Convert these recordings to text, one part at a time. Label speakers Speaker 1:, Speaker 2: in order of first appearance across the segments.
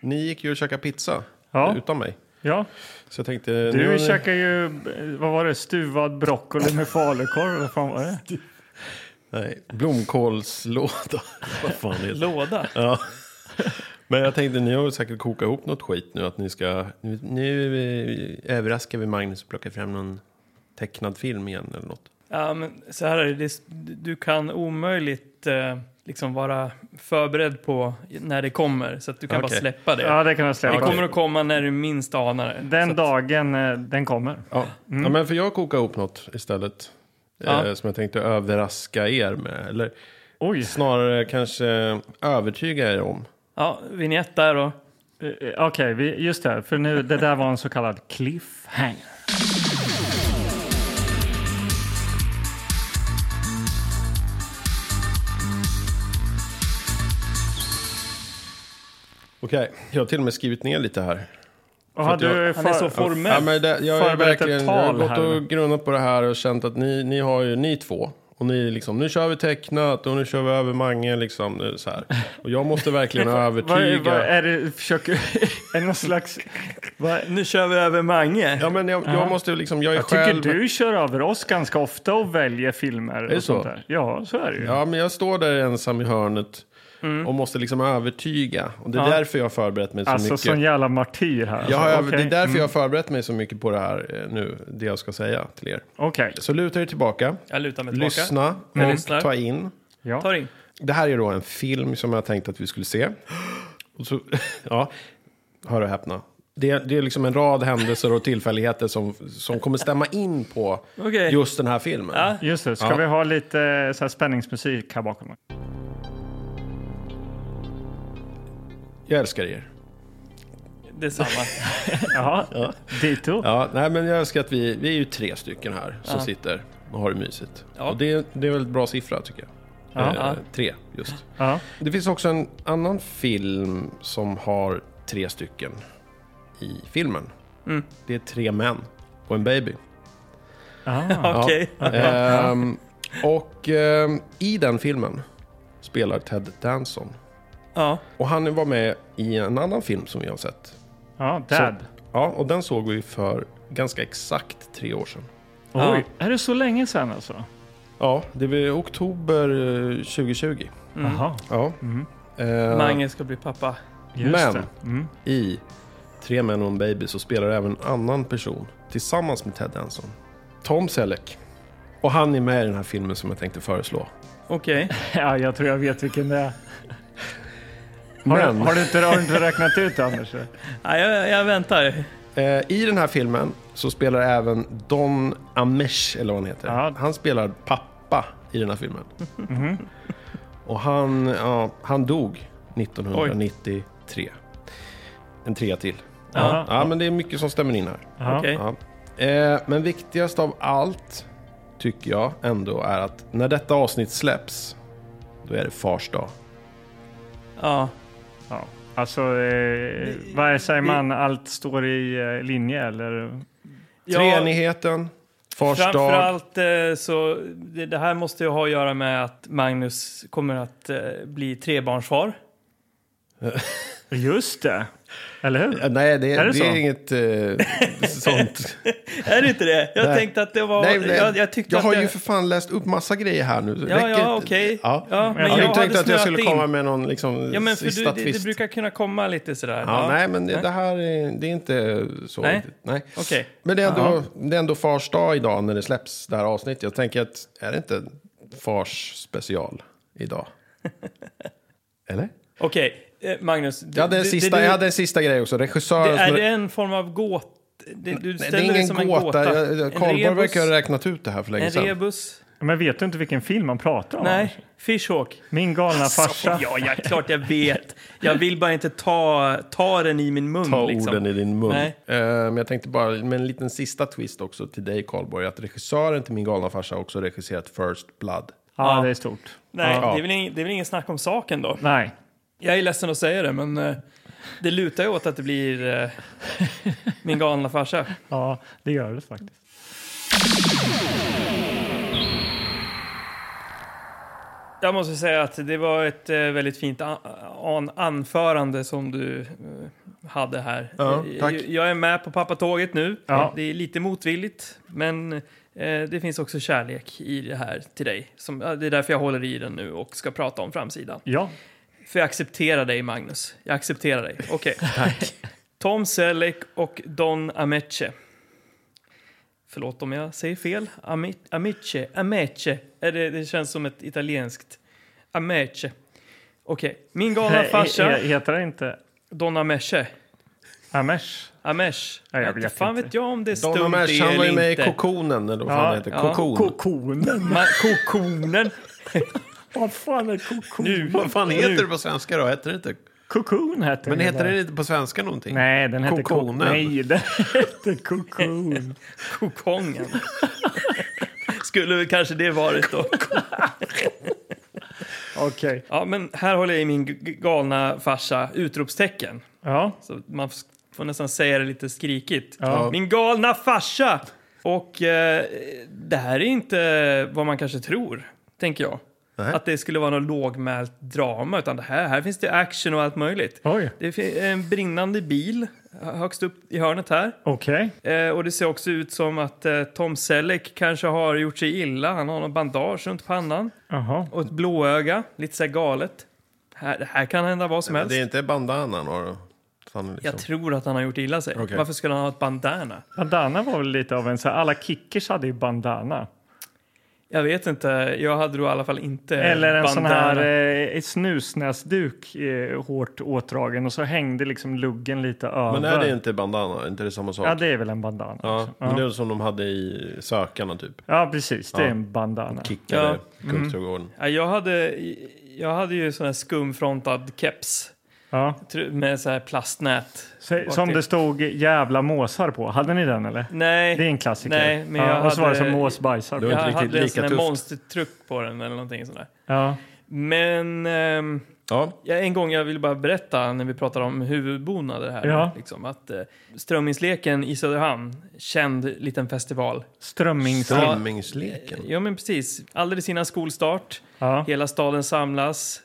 Speaker 1: Ni gick ju och käkade pizza
Speaker 2: Ja.
Speaker 1: utan mig.
Speaker 2: Ja,
Speaker 1: Så jag tänkte...
Speaker 2: du
Speaker 1: nu,
Speaker 2: käkar ju, eh, vad var det, stuvad broccoli med falukorv. Vad fan var det?
Speaker 1: Nej, blomkålslåda. Vad fan heter det?
Speaker 3: Låda?
Speaker 1: Ja. Men jag tänkte ni har säkert kokat ihop något skit nu. Att ni ska... Nu, nu eh, överraskar vi Magnus och plockar fram någon tecknad film igen eller något.
Speaker 3: Ja, men så här är det. det. Du kan omöjligt eh, liksom vara förberedd på när det kommer. Så att du kan
Speaker 1: Okej.
Speaker 3: bara släppa det.
Speaker 2: Ja, det kan jag
Speaker 3: det
Speaker 2: släppa.
Speaker 3: kommer att komma när du minst anar det.
Speaker 2: Den
Speaker 3: Så att-
Speaker 2: dagen eh, den kommer.
Speaker 1: Ja, ja men för jag kokar ihop något istället.
Speaker 3: Ja.
Speaker 1: Eh, som jag tänkte överraska er med. Eller
Speaker 2: Oj,
Speaker 1: snarare kanske övertyga er om.
Speaker 3: Ja, vignett där då.
Speaker 2: Eh, eh, okej, vi- just det. För nu, det där var en så kallad cliffhanger.
Speaker 1: Okej, jag har till och med skrivit ner lite här.
Speaker 2: Och
Speaker 1: För
Speaker 2: har
Speaker 1: att jag-
Speaker 2: du
Speaker 3: Han är så
Speaker 2: för,
Speaker 3: formell.
Speaker 1: Ja, men det, jag är
Speaker 2: förberett ett
Speaker 1: verkligen, jag har
Speaker 2: tal
Speaker 1: gått
Speaker 2: här nu.
Speaker 1: och grunnat på det här och känt att ni, ni har ju, ni två. Och ni är liksom, nu kör vi tecknat och nu kör vi över Mange liksom. Nu, så här. Och jag måste verkligen
Speaker 2: vad, är- vad
Speaker 1: övertyga.
Speaker 2: är det, försöker, är det någon slags... Vad,
Speaker 3: Nu kör vi över Mange.
Speaker 1: Ja men jag, jag måste ju liksom, jag är
Speaker 2: jag tycker
Speaker 1: själv.
Speaker 2: du kör över oss ganska ofta och väljer filmer.
Speaker 1: det
Speaker 2: och
Speaker 1: så?
Speaker 2: sånt där. Ja, så är det ju.
Speaker 1: Ja men jag står där ensam i hörnet.
Speaker 2: Mm.
Speaker 1: Och måste liksom övertyga. Och det är
Speaker 3: Ja.
Speaker 1: därför jag har förberett mig så
Speaker 2: alltså,
Speaker 1: mycket.
Speaker 2: sån jävla martyr här.
Speaker 1: jag har,
Speaker 2: alltså,
Speaker 1: över- Det är därför jag har förberett mig så mycket på det här eh, nu. Det jag ska säga till er.
Speaker 2: Okej.
Speaker 1: Så luta er tillbaka.
Speaker 3: Jag lutar mig tillbaka.
Speaker 1: Lyssna
Speaker 3: Jag
Speaker 1: och
Speaker 3: lyssnar.
Speaker 1: ta in.
Speaker 2: Ja.
Speaker 3: Ta in.
Speaker 1: Det här är då en film som jag tänkte att vi skulle se. Och så, ja, hör och häpna. Det, det är liksom en rad händelser och tillfälligheter som, som kommer stämma in på
Speaker 3: Okej.
Speaker 1: just den här filmen.
Speaker 3: Ja.
Speaker 2: Just det, ska
Speaker 1: Ja.
Speaker 2: vi ha lite eh, så här, spänningsmusik här bakom?
Speaker 1: Jag älskar er.
Speaker 3: Detsamma.
Speaker 2: Jaha, dito.
Speaker 1: Ja, nej, men jag älskar att vi, vi är ju tre stycken här som sitter och har det mysigt.
Speaker 3: Ja.
Speaker 1: Och det, det är en väldigt bra siffra tycker jag.
Speaker 2: Ja.
Speaker 1: Eh, Tre, just.
Speaker 2: Ja.
Speaker 1: Det finns också en annan film som har tre stycken i filmen.
Speaker 3: Mm.
Speaker 1: Det är tre män och en baby.
Speaker 2: Ah.
Speaker 3: Okej.
Speaker 1: Ehm, och ehm, i den filmen spelar Ted Danson.
Speaker 3: Ja.
Speaker 1: Och han var med i en annan film som vi har sett.
Speaker 2: ja, dad.
Speaker 1: Ja, och den såg vi för ganska exakt tre år sedan.
Speaker 2: Oj, är det så länge sedan alltså?
Speaker 1: Ja, det var oktober eh, 2020.
Speaker 2: Jaha,
Speaker 1: Ja. Ehm,
Speaker 3: Mange ska bli pappa.
Speaker 2: just
Speaker 1: Men-
Speaker 2: det. Mm.
Speaker 1: I Tre män och en baby så spelar även en annan person tillsammans med Ted Danson. Tom Selleck. Och han är med i den här filmen som jag tänkte föreslå.
Speaker 3: Okej.
Speaker 2: Ja, jag tror jag vet vilken det är. Har,
Speaker 1: Men...
Speaker 2: du, har, du inte, har du inte räknat ut det, Anders?
Speaker 3: Ja, jag, jag väntar.
Speaker 1: Eh, I den här filmen så spelar även Don Amesh, eller vad han heter.
Speaker 2: Ja. Mhm.
Speaker 1: Han spelar pappa i den här filmen. Och han, ja, han dog 1993. En trea till.
Speaker 2: Ja.
Speaker 1: Ja, men det är mycket som stämmer in här.
Speaker 2: Ja.
Speaker 3: Okej.
Speaker 1: Ja. Eh, men viktigast av allt tycker jag ändå är att när detta avsnitt släpps, då är det fars dag.
Speaker 3: Ja.
Speaker 2: Ja. Alltså, eh, vad är- säger man? Allt står i eh, linje, eller?
Speaker 3: Ja,
Speaker 1: Treenigheten, fars dag.
Speaker 3: Framförallt eh, så, det, det här måste ju ha att göra med att Magnus kommer att eh, bli trebarnsfar.
Speaker 2: Just det! Eller hur?
Speaker 1: Eh, Nej, det,
Speaker 2: Är det
Speaker 1: det
Speaker 2: så?
Speaker 1: är inget eh, sånt.
Speaker 3: Är det inte det? Jag
Speaker 1: Nej.
Speaker 3: tänkte att det var...
Speaker 1: Nej, nej.
Speaker 3: Jag, jag tyckte
Speaker 1: jag
Speaker 3: att
Speaker 1: har
Speaker 3: det,
Speaker 1: ju för fan läst upp massa grejer här nu.
Speaker 3: Ja, ja,
Speaker 1: inte.
Speaker 3: okej.
Speaker 1: Ja.
Speaker 3: Ja, men
Speaker 2: jag
Speaker 1: jag,
Speaker 3: jag hade
Speaker 1: tänkte att jag
Speaker 3: snöat
Speaker 1: skulle
Speaker 3: in.
Speaker 1: komma med någon liksom,
Speaker 3: Ja, men för du,
Speaker 1: sista
Speaker 3: det, det
Speaker 1: twist.
Speaker 3: brukar kunna komma lite sådär.
Speaker 1: ja, Nej, men det, det här är, det är inte så.
Speaker 3: Nej.
Speaker 1: riktigt. Nej.
Speaker 3: Okej.
Speaker 1: Men det är, ändå, det är ändå fars dag idag när det släpps det här avsnittet. Jag tänker att är det inte fars special idag? Eller?
Speaker 3: Okej, eh, Magnus. Du,
Speaker 1: Jag hade, en
Speaker 3: du-
Speaker 1: sista,
Speaker 3: det, du-
Speaker 1: jag hade en sista grej också.
Speaker 3: det,
Speaker 1: Regissören...
Speaker 3: är
Speaker 1: som-
Speaker 3: det en form av gåt... Det, du
Speaker 1: Nej,
Speaker 3: ställer
Speaker 1: det är
Speaker 3: det
Speaker 1: ingen
Speaker 3: som
Speaker 1: gåta.
Speaker 3: en gåta.
Speaker 1: Jag- jag-
Speaker 3: En
Speaker 1: Karlborg
Speaker 3: rebus.
Speaker 1: verkar ha räknat ut det liksom. här för länge
Speaker 3: En
Speaker 1: sedan.
Speaker 3: rebus?
Speaker 2: Men vet du inte vilken film man pratar om?
Speaker 3: Nej, Fishhawk.
Speaker 2: Min galna farsa.
Speaker 3: Ja, ja, klart jag vet. Jag vill bara inte ta, ta den i min mun.
Speaker 1: ta
Speaker 3: liksom.
Speaker 1: orden i din mun.
Speaker 3: Nej.
Speaker 1: Eh, men jag tänkte bara med en liten sista twist också till dig Karlborg. Att regissören till Min galna farsa har också regisserat First Blood.
Speaker 2: Ja, det är stort.
Speaker 3: Nej,
Speaker 1: Ja.
Speaker 3: det, är väl ing, det är väl ingen snack om saken då.
Speaker 2: Nej.
Speaker 3: Jag är ledsen att säga det, men eh, det lutar ju åt att det blir eh, min galna farsa.
Speaker 2: Ja, det gör det faktiskt.
Speaker 3: Jag måste säga att det var ett eh, väldigt fint a- an- anförande som du eh, hade här.
Speaker 1: Ja,
Speaker 3: Eh,
Speaker 1: tack.
Speaker 3: jag- Jag är med på pappatåget nu.
Speaker 2: Ja.
Speaker 3: Det är lite motvilligt, men eh, det finns också kärlek i det här till dig. Som, ja, det är därför jag håller i den nu och ska prata om framsidan.
Speaker 2: Ja,
Speaker 3: För jag accepterar dig, Magnus. Jag accepterar dig. Okej. Tom Selleck och Don Ameche. Förlåt om jag säger fel. Ami- Amice, Ameche. Är det, det känns som ett italienskt. Ameche. Okej. Min galna
Speaker 2: Nej, he-
Speaker 3: farsa,
Speaker 2: he- heter det inte
Speaker 3: Don Ameche.
Speaker 2: Amesh?
Speaker 3: Amesh.
Speaker 2: Ja, jag
Speaker 3: Vet
Speaker 2: vet
Speaker 3: fan
Speaker 2: inte.
Speaker 3: vet jag om det är stumt
Speaker 1: Donna Mash,
Speaker 3: det
Speaker 1: han var
Speaker 3: eller
Speaker 1: ju med i
Speaker 3: inte.
Speaker 1: Kokonen, eller vad
Speaker 2: Ja,
Speaker 1: fan heter.
Speaker 3: ja.
Speaker 1: Kokon.
Speaker 4: Kokonen?
Speaker 3: Ma- Kokonen.
Speaker 4: Vad fan är kokon?
Speaker 3: Nu.
Speaker 1: Vad fan heter det på svenska då? Heter det inte?
Speaker 2: Cocoon heter
Speaker 1: Men
Speaker 2: den
Speaker 1: heter
Speaker 2: där.
Speaker 1: det inte på svenska någonting?
Speaker 2: Nej, den heter
Speaker 1: Kokonen.
Speaker 2: Cocoon. Nej, den
Speaker 4: Det är kokon.
Speaker 3: Kokongen. Skulle väl kanske det varit då.
Speaker 2: Okej.
Speaker 3: Ja, men här håller jag i min g- g- galna farsa utropstecken.
Speaker 2: Ja.
Speaker 3: Så man f- får nästan säga det lite skrikigt.
Speaker 2: Ja.
Speaker 3: Min galna farsa! Och eh, det här är inte vad man kanske tror, tänker jag.
Speaker 1: Nej.
Speaker 3: Att det skulle vara något lågmält drama, utan det här, här finns det action och allt möjligt.
Speaker 2: Oj.
Speaker 3: Det finns en brinnande bil högst upp i hörnet här.
Speaker 2: Okej.
Speaker 3: Eh, och det ser också ut som att eh, Tom Selleck kanske har gjort sig illa. Han har någon bandage runt pannan
Speaker 2: Jaha.
Speaker 3: och ett blåöga, lite så här galet. Här, det här kan hända vad som helst.
Speaker 1: Det är inte bandanan har du? Sannolikt.
Speaker 3: Jag tror att han har gjort illa sig.
Speaker 1: typ, liksom. Okej.
Speaker 3: Varför skulle han ha ett bandana?
Speaker 2: Bandana var väl lite av en så här, alla kickers hade ju bandana.
Speaker 3: Jag vet inte. Jag hade då i alla fall inte
Speaker 1: Eh,
Speaker 2: Eller en sån
Speaker 3: bandana.
Speaker 2: här eh, snusnäsduk eh, hårt åtdragen och så hängde liksom luggen lite över.
Speaker 1: Men är det inte bandana? Är inte det samma sak?
Speaker 2: Ja, det är väl en bandana.
Speaker 1: Ja,
Speaker 2: också.
Speaker 1: men
Speaker 2: ja.
Speaker 1: det är som de hade i Sökarna typ.
Speaker 2: ja precis. Det
Speaker 1: Ja.
Speaker 2: är en bandana.
Speaker 1: Kickade Kungsträdgården.
Speaker 3: Ja, jag, hade, jag hade ju sån här skumfrontad keps
Speaker 2: Ja.
Speaker 3: tr- med så här plastnät.
Speaker 2: Så,
Speaker 3: Bak
Speaker 2: som
Speaker 3: till.
Speaker 2: det stod jävla måsar på. Hade ni den eller?
Speaker 3: Nej,
Speaker 2: Det är en klassiker.
Speaker 3: Nej, men
Speaker 2: ja,
Speaker 3: jag
Speaker 2: och så var det
Speaker 3: hade-
Speaker 2: som måsbajsar.
Speaker 1: Det
Speaker 2: på.
Speaker 1: var
Speaker 3: jag
Speaker 1: inte riktigt
Speaker 3: hade en
Speaker 1: lika
Speaker 3: sån här
Speaker 1: tufft.
Speaker 3: monstertruck på den eller någonting sånt där.
Speaker 2: Ja.
Speaker 3: Men ehm,
Speaker 1: Ja,
Speaker 3: ja, en gång jag ville bara berätta när vi pratade om huvudbonader här.
Speaker 2: Ja.
Speaker 3: Liksom, att eh, Strömmingsleken i Söderhamn, känd liten festival.
Speaker 2: Strömmingslek.
Speaker 3: Ja.
Speaker 1: strömmingsleken.
Speaker 3: Ja men precis, alldeles innan skolstart.
Speaker 2: Ja.
Speaker 3: Hela staden samlas.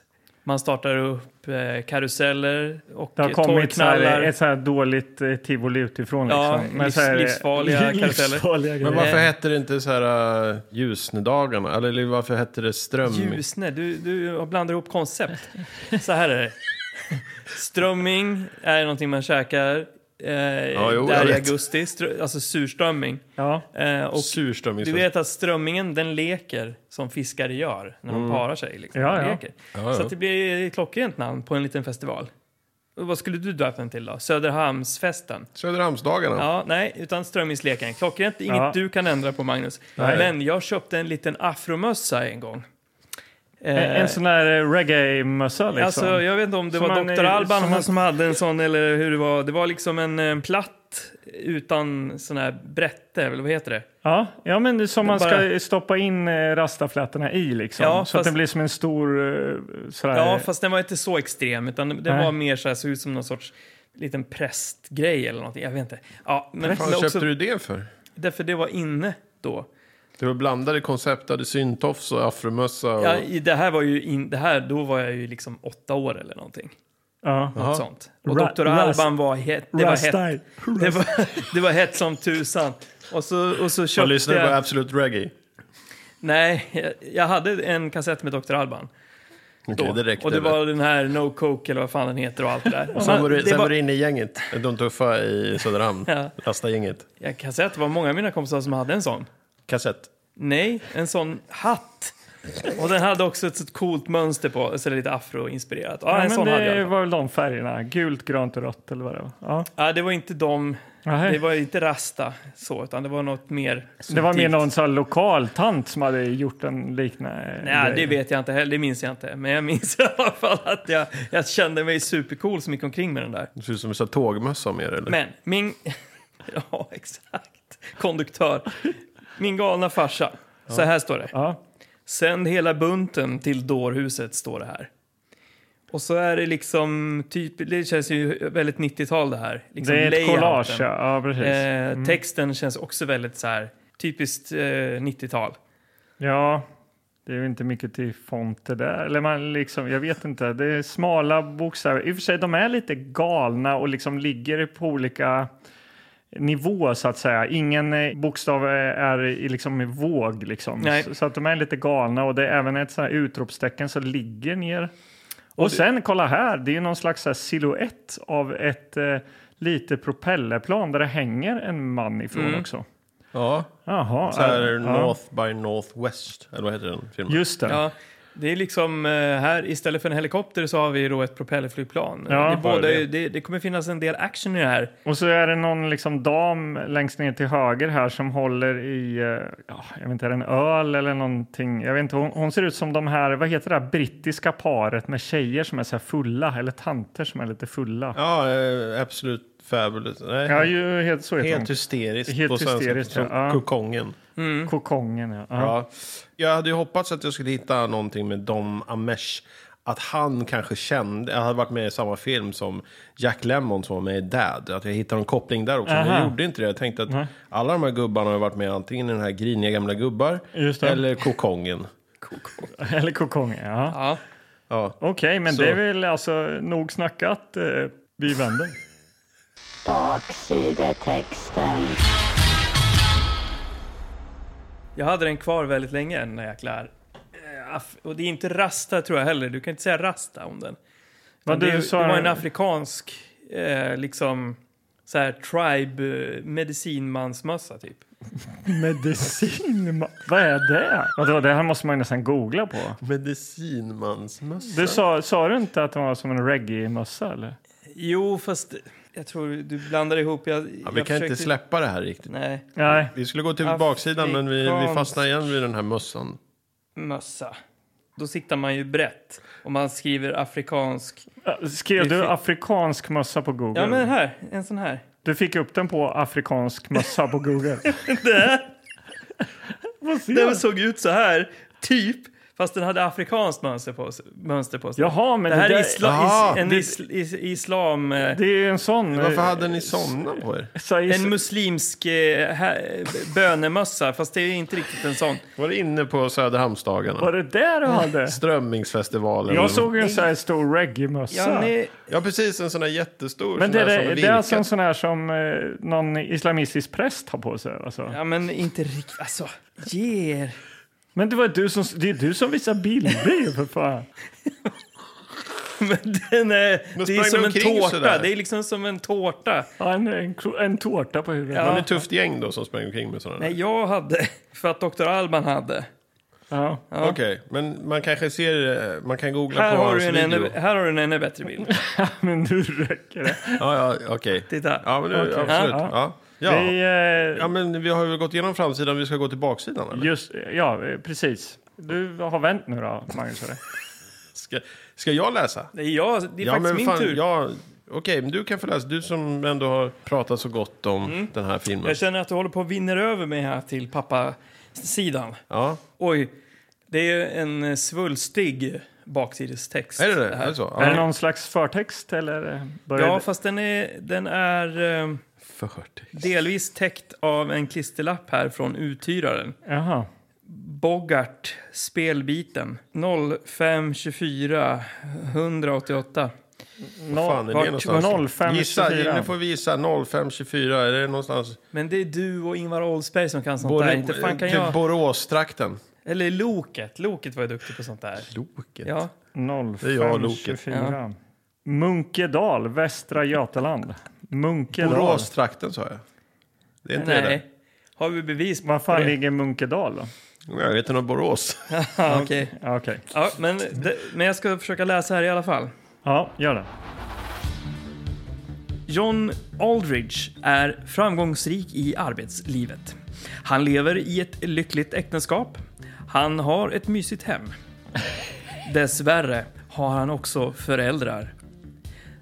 Speaker 3: Man startar upp eh, karuseller och
Speaker 2: Det har
Speaker 3: eh,
Speaker 2: kommit så här,
Speaker 3: torrknallar.
Speaker 2: ett så här dåligt eh, tivoli utifrån.
Speaker 3: Ja,
Speaker 2: liksom.
Speaker 3: livs-
Speaker 2: så här,
Speaker 3: livsfarliga
Speaker 2: livsfarliga
Speaker 1: Men
Speaker 2: grejer.
Speaker 1: varför hette det inte så här uh, Ljusnedagarna? Eller varför hette det Ström...
Speaker 3: Ljusne, du, du blandar ihop koncept. Så här är det. Strömming är någonting man käkar eh,
Speaker 1: jo, jag
Speaker 3: där i
Speaker 1: vet.
Speaker 3: augusti, Strö- alltså surströmming.
Speaker 2: Ja.
Speaker 3: Eh, och
Speaker 1: Surströmming.
Speaker 3: du vet att strömmingen den leker som fiskare gör när de parar sig. Liksom.
Speaker 2: Ja,
Speaker 3: De
Speaker 2: ja.
Speaker 3: Leker.
Speaker 1: Mm. Ja,
Speaker 3: Så
Speaker 1: ja.
Speaker 3: att det blir ett klockrent namn på en liten festival. Och vad skulle du döpa den till då? Söderhamnsfesten?
Speaker 1: Söderhamnsdagarna.
Speaker 3: Ja, nej, utan strömmingsleken. Klockrent, inget
Speaker 2: Ja.
Speaker 3: du kan ändra på Magnus.
Speaker 2: Nej.
Speaker 3: Men jag köpte en liten afromössa en gång.
Speaker 2: En, en sån där eh, reggae-mössa liksom.
Speaker 3: Alltså, jag vet inte om det
Speaker 2: Som
Speaker 3: var
Speaker 2: man-
Speaker 3: Dr. Alban
Speaker 2: som
Speaker 3: som,
Speaker 2: man-
Speaker 3: hade en sån eller hur det var. Det var liksom en eh, platt utan sån här brätte, eller vad heter det?
Speaker 2: ja, ja, men det är som man
Speaker 3: Bara-
Speaker 2: ska stoppa in eh, rastaflätorna i liksom.
Speaker 3: Ja,
Speaker 2: så att
Speaker 3: fast-
Speaker 2: den blir som en stor eh, sådär.
Speaker 3: Ja, fast den var inte så extrem utan den
Speaker 2: Nej.
Speaker 3: var mer så här, såg ut som någon sorts liten prästgrej eller någonting. Jag vet inte. Ja, men,
Speaker 1: Vad fan
Speaker 3: men också
Speaker 1: köpte du det för?
Speaker 3: därför det var inne då.
Speaker 1: Det var blandade koncept, hade syntofs och afromössa. Och...
Speaker 3: Ja, i- det här var ju in, det här, då var jag ju liksom åtta år eller någonting.
Speaker 2: ja.
Speaker 1: Jaha.
Speaker 3: Något sånt. Och
Speaker 2: Ra-
Speaker 3: Dr.
Speaker 2: ras-
Speaker 3: Alban var hett. Det var hett.
Speaker 4: Rastai.
Speaker 3: Det var, det var hett som tusan. Och så, och så
Speaker 1: Man
Speaker 3: köpte
Speaker 1: lyssnade på
Speaker 3: jag...
Speaker 1: Absolute Reggae.
Speaker 3: Nej, jag- jag hade en kassett med Dr. Alban.
Speaker 1: Okej,
Speaker 3: då.
Speaker 1: det räckte.
Speaker 3: och det
Speaker 1: väl.
Speaker 3: var den här No Coke eller vad fan den heter och allt det där.
Speaker 1: Sen var du,
Speaker 3: det
Speaker 1: sen var
Speaker 3: var,
Speaker 1: du inne i gänget, de tuffa i Söderhamn.
Speaker 3: Ja.
Speaker 1: Rasta-gänget.
Speaker 3: jag kan säga att det var många av mina kompisar som hade en sån.
Speaker 1: Kassett.
Speaker 3: Nej, en sån hatt. Och den hade också ett så coolt mönster på, så det är lite afroinspirerat. Ja,
Speaker 2: Ja,
Speaker 3: en
Speaker 2: men
Speaker 3: sån hade jag. i
Speaker 2: det
Speaker 3: alla fall.
Speaker 2: var väl de färgerna. Gult, grönt och rött eller vad det var. Ja.
Speaker 3: Ja, det var inte de,
Speaker 2: Nähä.
Speaker 3: det var inte rasta så, utan det var något mer
Speaker 2: Det var mer
Speaker 3: subtilt.
Speaker 2: någon sån här lokal tant som hade gjort en liknande
Speaker 3: Nej,
Speaker 2: grej.
Speaker 3: det vet jag inte heller, det minns jag inte. Men jag minns i alla fall att jag, jag kände mig supercool som gick omkring med den där.
Speaker 1: Det ser ut som en sån här tågmössa om er, eller?
Speaker 3: Men min... ja, exakt. Konduktör. Min galna farsa. Så här står det.
Speaker 2: Ja.
Speaker 3: Sänd hela bunten till dårhuset, står det här. Och så är det liksom, typ, det känns ju väldigt 90-tal det här. Liksom
Speaker 2: det är ett
Speaker 3: layouten.
Speaker 2: collage, ja. ja precis. Mm.
Speaker 3: Eh, texten känns också väldigt så här, typiskt eh, 90-tal.
Speaker 2: Ja, Det är ju inte mycket till fonter där. Eller man liksom, jag vet inte. Det är smala bokstäver. I och för sig, de är lite galna och liksom ligger på olika nivå så att säga. Ingen eh, bokstav är i liksom i våg liksom.
Speaker 3: Nej.
Speaker 2: Så, så att de är lite galna och det är även ett sånt här utropstecken som ligger ner. Och, sen kolla här, det är ju någon slags så här silhuett av ett eh, litet propellerplan där det hänger en man ifrån
Speaker 3: Mm.
Speaker 2: också.
Speaker 1: Ja,
Speaker 2: Jaha.
Speaker 1: så här
Speaker 2: eh, ja.
Speaker 1: North by Northwest, eller vad heter den filmen?
Speaker 2: Just det.
Speaker 3: Ja, det är liksom eh, här istället för en helikopter så har vi då ett propellerflygplan.
Speaker 2: Ja,
Speaker 3: det, är båda,
Speaker 1: det.
Speaker 3: det. Det, kommer finnas en del action i det här.
Speaker 2: Och så är det någon liksom dam längst ner till höger här som håller i, eh, ja, jag vet inte, är det en öl eller någonting? Jag vet inte, hon, hon ser ut som de här, vad heter det här brittiska paret med tjejer som är så här fulla, eller tanter som är lite fulla. Ja,
Speaker 1: Ja, eh, Absolut Fabulous. Nej,
Speaker 2: ju, helt, så heter
Speaker 1: helt hysteriskt
Speaker 2: Helt
Speaker 1: på svenska.
Speaker 2: hysteriskt,
Speaker 1: som
Speaker 2: ja.
Speaker 1: Kokongen.
Speaker 2: hon. Kokongen, ja. ja.
Speaker 1: Ja. Jag hade ju hoppats att jag skulle hitta någonting med Dom Amesh. Att han kanske kände, jag hade varit med i samma film som Jack Lemmon som var med i Dad. Att jag hittade en koppling där också. Men jag
Speaker 2: Aha.
Speaker 1: gjorde inte det. Jag tänkte att alla de här gubbarna har varit med antingen i den här griniga gamla gubbar
Speaker 2: Just det.
Speaker 1: eller Kokongen.
Speaker 2: Eller kokongen, ja.
Speaker 3: Ja.
Speaker 1: Ja.
Speaker 2: Okej, men
Speaker 1: Så.
Speaker 2: det är väl alltså nog snackat. Eh, vi vänder.
Speaker 5: Baksidetexten.
Speaker 3: Jag hade den kvar väldigt länge, den där jäkla... eh, Af- Och det är inte rasta tror jag heller, du kan inte säga rasta om den.
Speaker 2: Vad
Speaker 3: det,
Speaker 2: du sa-
Speaker 3: det var en afrikansk, eh, liksom, så här tribe eh, medicinmansmössa typ.
Speaker 2: Medicin, ma- vad är det? Vadå, det här måste man ju nästan googla på.
Speaker 1: Medicinmansmössa.
Speaker 2: Du sa, sa du inte att den var som en reggae-mössa eller?
Speaker 3: Jo, fast jag tror du blandar ihop. Jag,
Speaker 1: Ja, vi
Speaker 3: jag
Speaker 1: kan inte
Speaker 3: försökte-
Speaker 1: släppa det här riktigt.
Speaker 3: Nej,
Speaker 2: Nej.
Speaker 1: Vi skulle gå till baksidan men vi, vi
Speaker 3: Afrikansk.
Speaker 1: fastnar igen vid den här mössan.
Speaker 3: mössa. Då siktar man ju brett om man skriver afrikansk.
Speaker 2: Äh, Skrev
Speaker 3: Det
Speaker 2: du
Speaker 3: fick-
Speaker 2: afrikansk mössa på Google?
Speaker 3: Ja, men här, en sån här.
Speaker 2: Du fick upp den på afrikansk mössa på Google. Vad ser
Speaker 3: Den
Speaker 2: du?
Speaker 3: såg ut så här, typ. Fast den hade afrikanskt mönster på, sig- mönster på sig.
Speaker 2: Jaha, men
Speaker 3: det här
Speaker 2: det,
Speaker 3: är
Speaker 2: där,
Speaker 3: isla,
Speaker 1: Jaha,
Speaker 3: is, en
Speaker 2: det-
Speaker 3: isl, is, islam... eh,
Speaker 2: det är ju en sån... eh,
Speaker 1: Varför hade ni sådana på er?
Speaker 2: så,
Speaker 3: En muslimsk eh, här, bönemössa, fast det är inte riktigt en sån.
Speaker 1: Var det inne på Söderhamnsdagarna?
Speaker 2: Var det där du hade?
Speaker 1: Strömmingsfestivalen?
Speaker 2: Jag
Speaker 1: eller
Speaker 2: såg ju en sån här stor reggae-mössa.
Speaker 3: Ja, ni,
Speaker 1: Ja, precis. En sån där jättestor. sån
Speaker 2: men det,
Speaker 1: där som
Speaker 2: det, det är alltså en
Speaker 1: virkad.
Speaker 2: sån här som eh, någon islamistisk präst har på sig? Alltså.
Speaker 3: ja, men inte riktigt... Alltså, ge er.
Speaker 2: Men det var du som, det är du som visar bilder ju, för fan.
Speaker 3: Men den är,
Speaker 1: Men
Speaker 3: det
Speaker 1: sprang
Speaker 3: är som
Speaker 1: de
Speaker 3: en
Speaker 1: omkring
Speaker 3: tårta.
Speaker 1: sådär?
Speaker 3: Det är liksom som en tårta.
Speaker 2: Ja, en, en, en tårta på huvudet.
Speaker 1: Var
Speaker 3: Ja.
Speaker 1: ni ett tufft gäng då som sprang omkring med såna där?
Speaker 3: Nej, jag hade, för att Dr. Alban hade.
Speaker 2: Ja.
Speaker 1: Okej, men man kanske ser... eh, Man kan googla
Speaker 3: Här
Speaker 1: på
Speaker 3: har,
Speaker 1: hans
Speaker 3: du en
Speaker 1: video.
Speaker 3: ännu, här har du en ännu bättre bild.
Speaker 2: Men nu räcker det.
Speaker 1: Ja, ja, okej.
Speaker 3: Titta.
Speaker 1: Ja, men nu,
Speaker 2: Okej.
Speaker 1: absolut.
Speaker 2: Ja,
Speaker 1: Ja. Ja.
Speaker 2: Vi, eh,
Speaker 1: ja, men vi har ju gått igenom framsidan. Vi ska gå till baksidan, eller?
Speaker 2: Just, ja, eh, precis. Du har vänt nu då, Magnus? eller?
Speaker 1: Ska, ska jag läsa?
Speaker 3: Det är, jag, det är faktiskt min tur. Jag...
Speaker 1: Ja, okej, men du kan få läsa. Du som ändå har pratat så gott om
Speaker 2: Mm.
Speaker 1: den här filmen.
Speaker 3: känner att du håller på att vinna över mig här till pappasidan.
Speaker 1: Ja,
Speaker 3: Oj, det är ju en eh, svulstig baksidestext.
Speaker 1: är det det?
Speaker 3: här.
Speaker 1: Är det så?
Speaker 2: Är det
Speaker 1: Ja.
Speaker 2: någon slags förtext? Eller eh, börjar
Speaker 3: Ja,
Speaker 2: det-
Speaker 3: fast den är, den är eh,
Speaker 1: Förtext.
Speaker 3: delvis täckt av en klisterlapp här från uthyraren.
Speaker 2: Jaha.
Speaker 3: Bogart, spelbiten. 0524 188.
Speaker 1: Vad fan är det
Speaker 3: vart-
Speaker 1: någonstans?
Speaker 2: 05,
Speaker 1: Gissa,
Speaker 2: 24.
Speaker 1: nu får vi gissa. 0524, är det någonstans?
Speaker 3: Men det är du och Ingvar Oldsberg som kan sånt
Speaker 1: Borå-
Speaker 3: där. Inte fan kan
Speaker 1: typ
Speaker 3: jag.
Speaker 1: Boråstrakten.
Speaker 3: Eller Loket. Loket var ju duktig på sånt där.
Speaker 1: Loket.
Speaker 3: Ja.
Speaker 1: Det är jag, Loket.
Speaker 2: 0524. Munkedal, Västra Götaland. Munkedal.
Speaker 1: Boråstrakten sa jag. Det är inte det
Speaker 3: Nej. Har vi bevis på
Speaker 2: Var fan
Speaker 3: det?
Speaker 2: ligger Munkedal då?
Speaker 1: där. Jag vet inte om Borås.
Speaker 3: Ja, Ah, okej.
Speaker 2: Ja, Okej.
Speaker 3: Ja, men, det, men jag ska försöka läsa här i alla fall.
Speaker 2: Ja, gör det.
Speaker 3: John Aldridge är framgångsrik i arbetslivet. Han lever i ett lyckligt äktenskap. Han har ett mysigt hem. Dessvärre har han också föräldrar.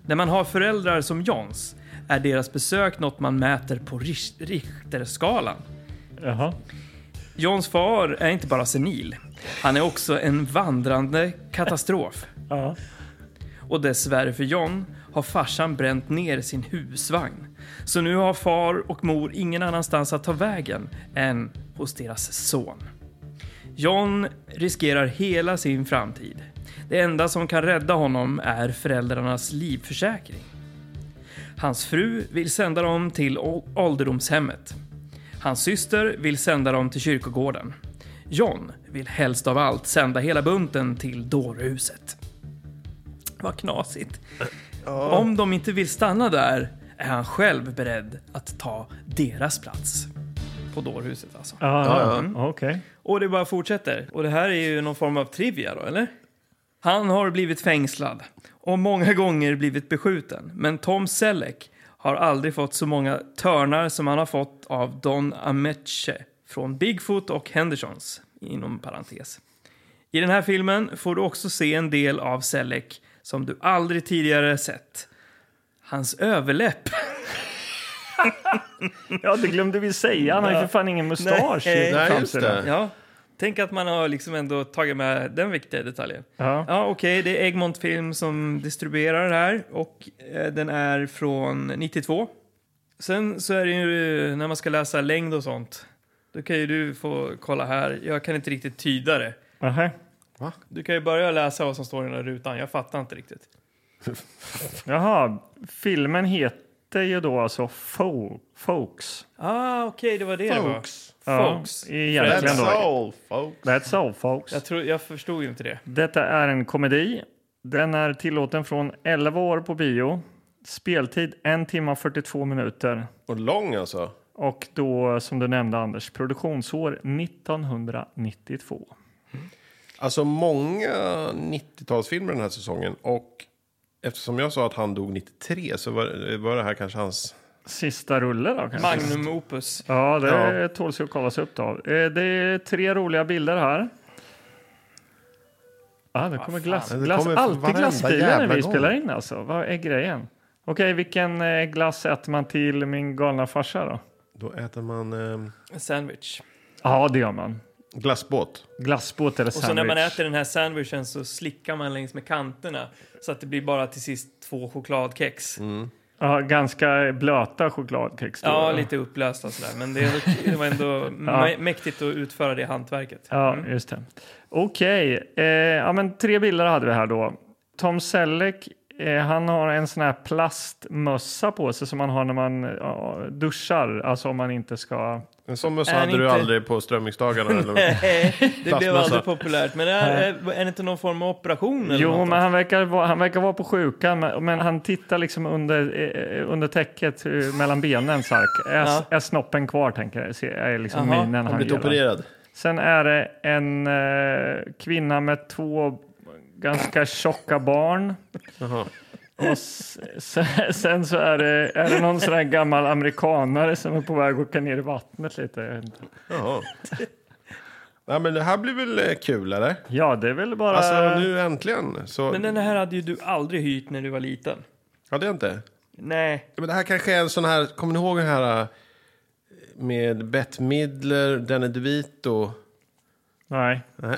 Speaker 3: När man har föräldrar som Johns är deras besök något man mäter på Richt- Richterskalan.
Speaker 2: Jaha.
Speaker 3: Johns far är inte bara senil. Han är också en vandrande katastrof.
Speaker 2: Ja.
Speaker 3: Och dessvärre för John har farsan bränt ner sin husvagn. Så nu har far och mor ingen annanstans att ta vägen än hos deras son. John riskerar hela sin framtid. Det enda som kan rädda honom är föräldrarnas livförsäkring. Hans fru vill sända dem till å- ålderdomshemmet. Hans syster vill sända dem till kyrkogården. John vill helst av allt sända hela bunten till dårhuset. Vad knasigt. Om de inte vill stanna där är han själv beredd att ta deras plats. På dårhuset alltså.
Speaker 2: Ja, mm, okej.
Speaker 3: Och det bara fortsätter. Och det här är ju någon form av trivia då, eller? Han har blivit fängslad och många gånger blivit beskjuten. Men Tom Selleck har aldrig fått så många törnar som han har fått av Don Ameche från Bigfoot och Hendersons, inom parentes. I den här filmen får du också se en del av Selleck som du aldrig tidigare sett. Hans överläpp.
Speaker 2: Ja, det glömde vi säga. Han har ju för fan ingen mustasch.
Speaker 3: Nej.
Speaker 2: i
Speaker 3: Nej,
Speaker 1: just
Speaker 2: framsidan.
Speaker 1: det.
Speaker 3: Ja, tänk att man har liksom ändå tagit med den viktiga detaljen.
Speaker 2: Ja.
Speaker 3: Ja, okej. Det är Egmont Film som distribuerar det här och eh, den är från 92. Sen så är det ju eh, när man ska läsa längd och sånt. Då kan ju du få kolla här. Jag kan inte riktigt tyda det.
Speaker 2: Aha.
Speaker 3: Du kan ju börja läsa vad som står i den här rutan. Jag fattar inte riktigt.
Speaker 2: Jaha, filmen heter ju då alltså Fo- Folks.
Speaker 3: Ah, okej, det var det
Speaker 1: Folks.
Speaker 3: det var. Folks.
Speaker 2: Ja, egentligen
Speaker 1: That's
Speaker 2: då.
Speaker 1: all, folks.
Speaker 2: That's all folks.
Speaker 3: Jag, tror, jag förstod ju inte det.
Speaker 2: Detta är en komedi. Den är tillåten från 11 år på bio. Speltid 1 timme och 42 minuter.
Speaker 1: Och lång alltså.
Speaker 2: Och då, som du nämnde Anders, produktionsår 1992.
Speaker 1: Alltså många 90-talsfilmer den här säsongen. Och eftersom jag sa att han dog 93 så var, var det här kanske hans...
Speaker 2: Sista rulle då kanske?
Speaker 3: Magnum opus.
Speaker 2: Ja, det ja. tåls ju att kollas upp då. Eh, Det är tre roliga bilder här. Ah, det kommer glass,
Speaker 1: Ja, det
Speaker 2: glass
Speaker 1: kommer
Speaker 2: alltid
Speaker 1: varenda
Speaker 2: glassbilar när
Speaker 1: jävla
Speaker 2: vi
Speaker 1: gång.
Speaker 2: spelar in alltså. Vad är grejen? Okej, vilken eh, glass äter man till min galna farsa då?
Speaker 1: Då äter man eh,
Speaker 3: Sandwich.
Speaker 2: Ja, det gör man.
Speaker 1: glassbåt.
Speaker 2: Glassbåt eller
Speaker 3: Och
Speaker 2: sandwich.
Speaker 3: så när man äter den här sandwichen så slickar man längs med kanterna så att det blir bara till sist två chokladkex.
Speaker 2: Ja, ganska blöta chokladkex. då,
Speaker 3: Ja,
Speaker 2: va?
Speaker 3: lite upplösta sådär. Men det, det var ändå mä- mäktigt att utföra det hantverket. Mm.
Speaker 2: Ja, just det. Okej, eh, ja, men tre bilder hade vi här då. Tom Selleck, eh, han har en sån här plastmössa på sig som man har när man ja, duschar, alltså om man inte ska...
Speaker 1: En sån mössa
Speaker 3: Är
Speaker 1: hade du
Speaker 3: inte-
Speaker 1: aldrig på strömmingsdagarna. eller?
Speaker 3: Nej, det blev
Speaker 1: Plastmössa.
Speaker 3: aldrig populärt. Men är, är det inte någon form av operation? Eller
Speaker 2: Jo,
Speaker 3: något?
Speaker 2: men han verkar, vara, han verkar vara på sjukan, men, men han tittar liksom under, eh, under täcket eh, mellan benen. Så här. Är,
Speaker 3: Ja.
Speaker 2: är snoppen kvar, tänker jag. Ser- Är liksom
Speaker 3: Jaha,
Speaker 2: minen
Speaker 1: Han
Speaker 2: han
Speaker 1: blivit
Speaker 2: gör.
Speaker 1: opererad.
Speaker 2: Sen är det en eh, kvinna med två ganska tjocka barn.
Speaker 1: Jaha.
Speaker 2: Och s- sen, sen så är det, är det någon sån här gammal amerikanare som är på väg att åka ner i vattnet lite. Jag vet inte.
Speaker 1: Jaha. Ja, men det här blir väl eh, kul, eller?
Speaker 2: Ja, det är väl bara...
Speaker 1: Alltså, nu äntligen. Så...
Speaker 3: Men den här hade ju du aldrig hyrt när du var liten.
Speaker 1: Ja, det är inte.
Speaker 3: Nej.
Speaker 1: Ja, Men det här kanske är en sån här... Kommer ni ihåg den här eh, med Bette Midler, Danny DeVito?
Speaker 2: Nej.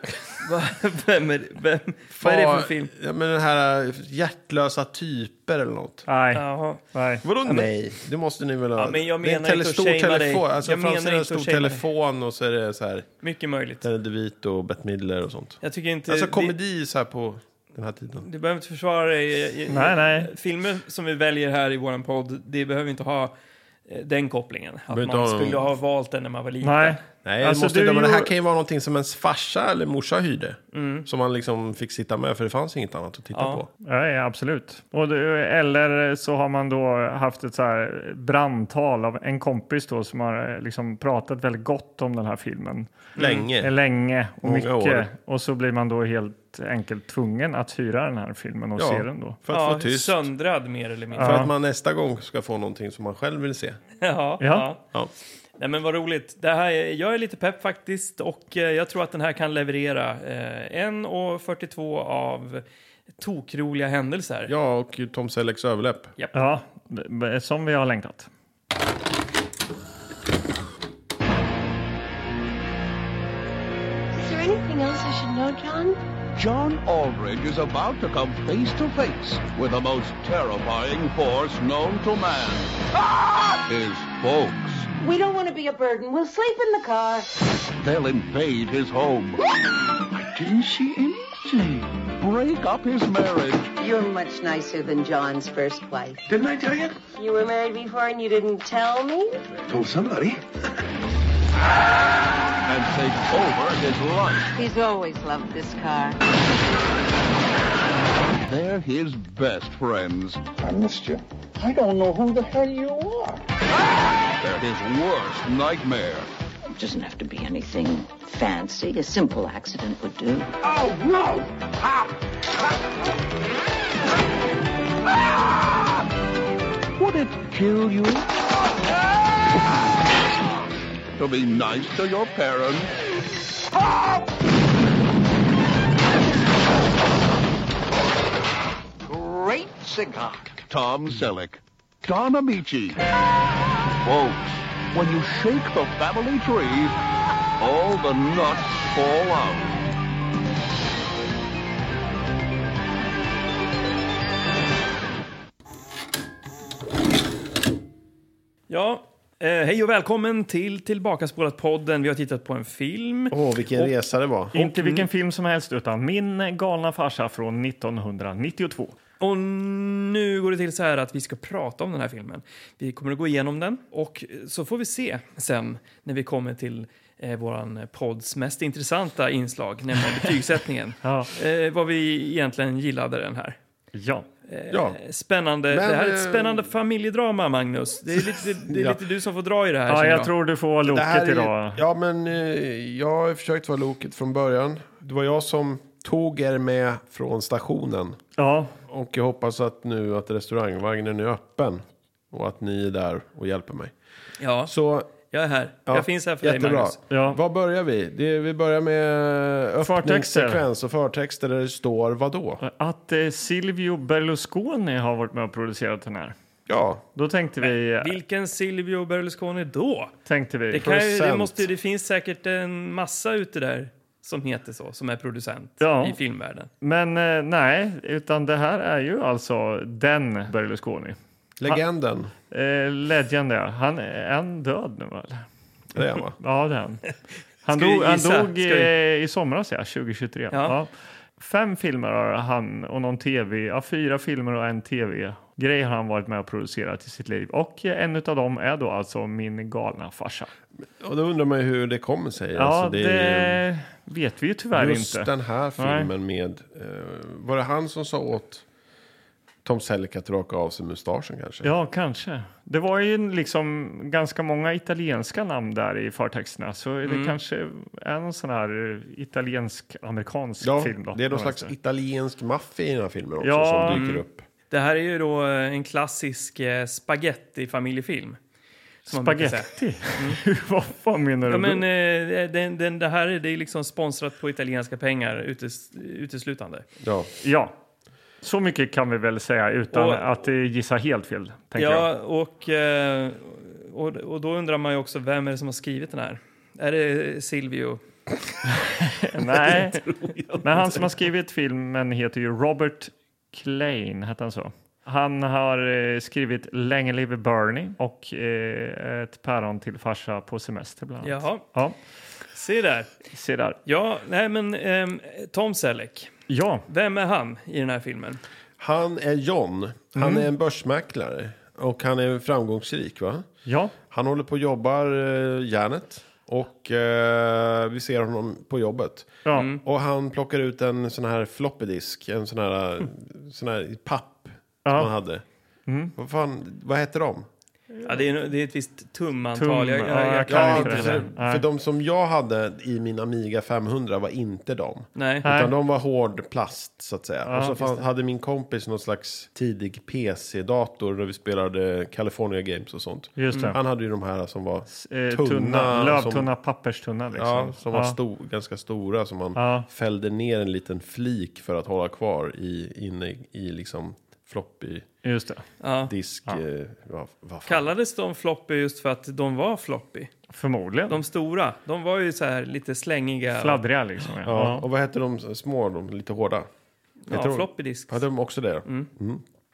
Speaker 3: Va? Vem är det? Vem? Vad är det för film?
Speaker 1: Ja, men den här eh, hjärtlösa typer eller något.
Speaker 2: Nej.
Speaker 3: Jaha.
Speaker 2: Nej.
Speaker 1: Vadå nej? Det måste ni väl ha?
Speaker 3: Ja, men jag
Speaker 1: Det är en
Speaker 3: menar inte
Speaker 1: tele-
Speaker 3: att
Speaker 1: stor
Speaker 3: shamea dig.
Speaker 1: telefon. Alltså,
Speaker 3: Jag
Speaker 1: framför
Speaker 3: menar
Speaker 1: är det en
Speaker 3: inte att
Speaker 1: stor
Speaker 3: shamea dig.
Speaker 1: telefon och så är det så här...
Speaker 3: Mycket möjligt.
Speaker 1: Danny DeVito och Bette Midler och sånt.
Speaker 3: Jag tycker inte...
Speaker 1: Alltså
Speaker 3: det-
Speaker 1: komedi så här på den här tiden.
Speaker 3: Du behöver inte försvara dig. Jag- jag-
Speaker 2: Nej, nej.
Speaker 3: Filmer som vi väljer här i vår podd, det behöver inte ha eh, den kopplingen. Att
Speaker 1: Behöver inte
Speaker 3: man
Speaker 1: ha någon-
Speaker 3: skulle ha valt den när man var liten.
Speaker 2: Nej.
Speaker 1: Nej,
Speaker 2: Alltså,
Speaker 1: det, måste
Speaker 2: du
Speaker 1: inte, men det här
Speaker 2: gjorde-
Speaker 1: kan ju vara någonting som ens farsa eller morsa hyrde.
Speaker 2: Mm.
Speaker 1: Som man liksom fick sitta med för det fanns inget annat att titta
Speaker 3: Ja.
Speaker 1: på.
Speaker 2: Nej, absolut. Och det, eller så har man då haft ett så här brandtal av en kompis då som har eh, liksom pratat väldigt gott om den här filmen.
Speaker 1: Länge.
Speaker 2: Eh, Länge och
Speaker 1: Många
Speaker 2: mycket.
Speaker 1: år.
Speaker 2: Och så blir man då helt enkelt tvungen att hyra den här filmen och
Speaker 1: Ja.
Speaker 2: se den då.
Speaker 1: För att
Speaker 3: ja,
Speaker 1: få tyst.
Speaker 3: söndrad mer eller mindre.
Speaker 1: För
Speaker 2: Ja.
Speaker 1: att man nästa gång ska få någonting som man själv vill se.
Speaker 3: Ja, ja.
Speaker 1: Ja.
Speaker 3: Nej, men vad roligt. Det här, är- jag är lite pepp faktiskt och eh, jag tror att den här kan leverera eh, 1.42 av tokroliga händelser.
Speaker 1: Ja, och Tom Sellecks överläpp.
Speaker 2: Ja, b- som vi har längtat.
Speaker 5: Is there anything else I should know, John?
Speaker 6: John Aldridge is about to come face to face with the most terrifying force known to man. His folks.
Speaker 5: We don't want to be a burden. We'll sleep in the car.
Speaker 6: They'll invade his home. Why didn't she intervene? Break up his marriage.
Speaker 5: You're much nicer than John's first wife.
Speaker 6: Didn't I tell you?
Speaker 5: You were married before and you didn't tell me?
Speaker 6: Told somebody. and take over his life.
Speaker 5: He's always loved this car.
Speaker 6: They're his best friends.
Speaker 7: I missed you. I don't know who the hell you are.
Speaker 6: They're his worst nightmare.
Speaker 8: It doesn't have to be anything fancy. A simple accident would do.
Speaker 7: Oh, no! Ah!
Speaker 6: Would it kill you? to be nice to your parents.
Speaker 7: Great cigar.
Speaker 6: Tom Selleck. Don Amici. Folks, when you shake the family tree, all the nuts fall out.
Speaker 3: Ja, eh, hej och välkommen till Tillbakaspolat-podden. Vi har tittat på en film.
Speaker 1: Åh, vilken resa det var.
Speaker 2: Inte vilken film som helst, utan Min galna farsa från 1992.
Speaker 3: Och nu går det till så här att vi ska prata om den här filmen. Vi kommer att gå igenom den och så får vi se sen när vi kommer till eh, våran podds mest intressanta inslag, nämligen betygssättningen.
Speaker 2: Ja.
Speaker 3: eh, vad vi egentligen gillade den här.
Speaker 2: Ja.
Speaker 1: Ja.
Speaker 3: Eh, Spännande.
Speaker 1: Men,
Speaker 3: det här är
Speaker 1: eh,
Speaker 3: ett spännande familjedrama, Magnus. Det är lite, det, det är
Speaker 1: Ja.
Speaker 3: lite du som får dra i det här.
Speaker 2: ja,
Speaker 3: känner
Speaker 2: jag tror du får
Speaker 1: Det här
Speaker 2: loket
Speaker 1: är-
Speaker 2: idag.
Speaker 1: Ja, men eh, jag har försökt vara loket från början. Det var jag som tog er med från stationen.
Speaker 2: Ja,
Speaker 1: Och jag hoppas att nu att restaurangvagnen är öppen. Och att ni är där och hjälper mig.
Speaker 3: Ja,
Speaker 1: Så,
Speaker 3: jag är här.
Speaker 1: ja,
Speaker 3: jag finns här för
Speaker 1: jättebra.
Speaker 3: dig, Magnus.
Speaker 2: Ja.
Speaker 1: Var börjar vi? Det, vi börjar med
Speaker 2: Förtexter.
Speaker 1: öppningssekvens och förtexter där det står vadå?
Speaker 2: att eh, Silvio Berlusconi har varit med och producerat den här.
Speaker 1: Ja,
Speaker 2: Då tänkte vi...
Speaker 3: Vilken Silvio Berlusconi då?
Speaker 2: Tänkte vi.
Speaker 3: Det, kan ju, det,
Speaker 1: Producent.
Speaker 3: måste, det finns säkert en massa ute där som heter så, som är producent
Speaker 2: Ja.
Speaker 3: i filmvärlden.
Speaker 2: Men eh, nej, utan det här är ju alltså den Berlusconi.
Speaker 1: legenden.
Speaker 2: Eh, Legend, ja. Han är han död nu, eller?
Speaker 1: Det är han, va?
Speaker 2: Ja, det är han. Han
Speaker 3: Ska vi
Speaker 2: dog, han
Speaker 3: gissa?
Speaker 2: dog
Speaker 3: Ska
Speaker 2: eh, i somras, ja, 2023. Ja.
Speaker 3: Ja.
Speaker 2: Fem filmer har han och någon tv, ja, fyra filmer och en tv-grej har han varit med och producerat i sitt liv. Och eh, en av dem är då alltså Min galna farsa.
Speaker 1: Och då undrar man ju hur det kommer sig.
Speaker 2: Ja,
Speaker 1: Alltså,
Speaker 2: det,
Speaker 1: det är ju-
Speaker 2: vet vi ju tyvärr
Speaker 1: Just
Speaker 2: inte.
Speaker 1: den här filmen med... Eh, var det han som sa åt Tom Selleck att raka av sig mustaschen kanske?
Speaker 2: Ja, kanske. Det var ju liksom ganska många italienska namn där i förtexterna så
Speaker 3: Mm.
Speaker 2: det kanske är någon sån här eh, italiensk-amerikansk
Speaker 1: Ja,
Speaker 2: film. Då,
Speaker 1: det är någon
Speaker 2: på
Speaker 1: slags
Speaker 2: vänster.
Speaker 1: italiensk maffia i den här filmen också
Speaker 2: Ja,
Speaker 1: som dyker
Speaker 2: mm.
Speaker 1: upp.
Speaker 3: Det här är ju då eh, en klassisk eh, spagetti-familjefilm. som man brukar säga. Mm.
Speaker 2: Spaghetti? Vad fan menar du?
Speaker 3: Ja, men, eh, den, den, det här är- det är liksom sponsrat på italienska pengar utes, uteslutande.
Speaker 1: Ja.
Speaker 2: ja. Så mycket kan vi väl säga utan
Speaker 3: Och-
Speaker 2: att eh, gissa helt fel. Tänker jag.
Speaker 3: Ja, och, eh, och, och då undrar man ju också vem är det som har skrivit den här? Är det Silvio?
Speaker 2: Nej. Men han som har skrivit filmen heter ju Robert Klein, hette han så? Han har eh, skrivit Länge leve Bernie och eh, Ett päron till farsa på semester bland annat.
Speaker 3: Jaha,
Speaker 2: Ja,
Speaker 3: se där.
Speaker 2: se där.
Speaker 3: Ja, nej men ehm, Tom Selleck,
Speaker 2: Ja,
Speaker 3: vem är han i den här filmen?
Speaker 1: Han är John. Han
Speaker 2: Mm.
Speaker 1: är en börsmäklare. Och han är framgångsrik va?
Speaker 2: ja,
Speaker 1: Han håller på och jobbar eh, järnet. Och eh, vi ser honom på jobbet.
Speaker 2: ja.
Speaker 3: Mm.
Speaker 1: Och han plockar ut en sån här floppydisk. En sån här, sån här i papp. Som
Speaker 2: Mm. Ja. Mm.
Speaker 1: han hade. Vad fan, vad hette de?
Speaker 3: Ja, det, är, det är ett visst tumantal.
Speaker 2: Tum,
Speaker 3: jag,
Speaker 2: ja,
Speaker 3: jag, jag kan
Speaker 2: jag
Speaker 1: Ja,
Speaker 2: inte
Speaker 1: för,
Speaker 2: det där.
Speaker 1: för de som jag hade i min Amiga 500 var inte de.
Speaker 3: Nej.
Speaker 1: Utan de var hård plast så att säga. och så
Speaker 2: just
Speaker 1: fan, hade min kompis någon slags tidig PC-dator där vi spelade California Games och sånt.
Speaker 2: Just det.
Speaker 1: Han hade ju de här som var
Speaker 2: Eh,
Speaker 1: tunna.
Speaker 2: tunna,
Speaker 1: som,
Speaker 2: lövtunna, papperstunna liksom.
Speaker 1: ja, som var sto, ganska stora som man
Speaker 2: Ja.
Speaker 1: fällde ner en liten flik för att hålla kvar i, inne i, i liksom floppy
Speaker 2: Just det.
Speaker 3: Ja.
Speaker 1: disk. Eh, vad, vad fan.
Speaker 3: Kallades de floppy just för att de var floppy?
Speaker 2: Förmodligen.
Speaker 3: De stora, de var ju så här lite slängiga.
Speaker 2: Fladdriga liksom. Ja.
Speaker 1: Ja.
Speaker 2: Ja.
Speaker 1: Och vad hette de små, de lite hårda?
Speaker 3: ja,
Speaker 1: tror-
Speaker 3: floppy disk.
Speaker 1: Hade de också det? Mm.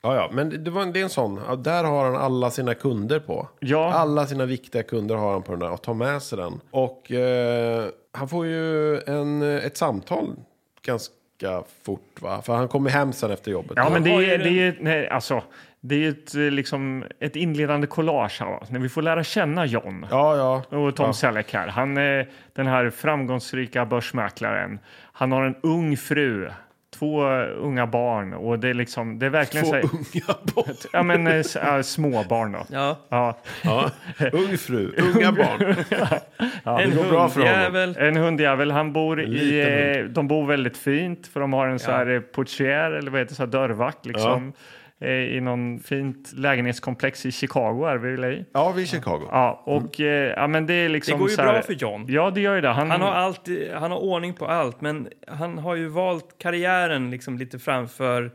Speaker 1: Ja, ja, men det, var, en- det är en sån. Ja, Där har han alla sina kunder på.
Speaker 2: Ja.
Speaker 1: Alla sina viktiga kunder har han på den där och tar med sig den. Och eh, han får ju en, ett samtal ganska fort, va? För han kommer hem sen efter jobbet.
Speaker 2: Ja, men det
Speaker 3: har ju
Speaker 2: är,
Speaker 3: den-
Speaker 2: det är, ju- nej, alltså, det är ju ett, eh, liksom, ett inledande collage här, va? när vi får lära känna John.
Speaker 1: ja, ja.
Speaker 2: Och Tom
Speaker 1: ja.
Speaker 2: Selleck här. Han är den här framgångsrika börsmäklaren. Han har en ung fru, två eh, unga barn och det är liksom, det är verkligen
Speaker 1: Två
Speaker 2: så här,
Speaker 1: unga barn.
Speaker 2: ja men eh, s- ja, småbarn då.
Speaker 3: Ja,
Speaker 2: Ja,
Speaker 1: Ja. Ung fru, unga barn.
Speaker 3: en
Speaker 1: går bra för honom.
Speaker 3: hundjävel.
Speaker 2: en hundjävel. Han bor i,
Speaker 1: liten
Speaker 2: eh, de bor väldigt fint för de har en så här eh, portier eller vad heter det, så här dörrvakt liksom. eh, I någon fint lägenhetskomplex i Chicago är vi väl i.
Speaker 1: Ja, vi är i Chicago.
Speaker 2: Ja, och eh, ja, men det är liksom
Speaker 3: Det går ju
Speaker 2: så här,
Speaker 3: bra för John.
Speaker 2: Ja, det gör ju det. Han,
Speaker 3: Han har, allt, han har ordning på allt, men han har ju valt karriären liksom lite framför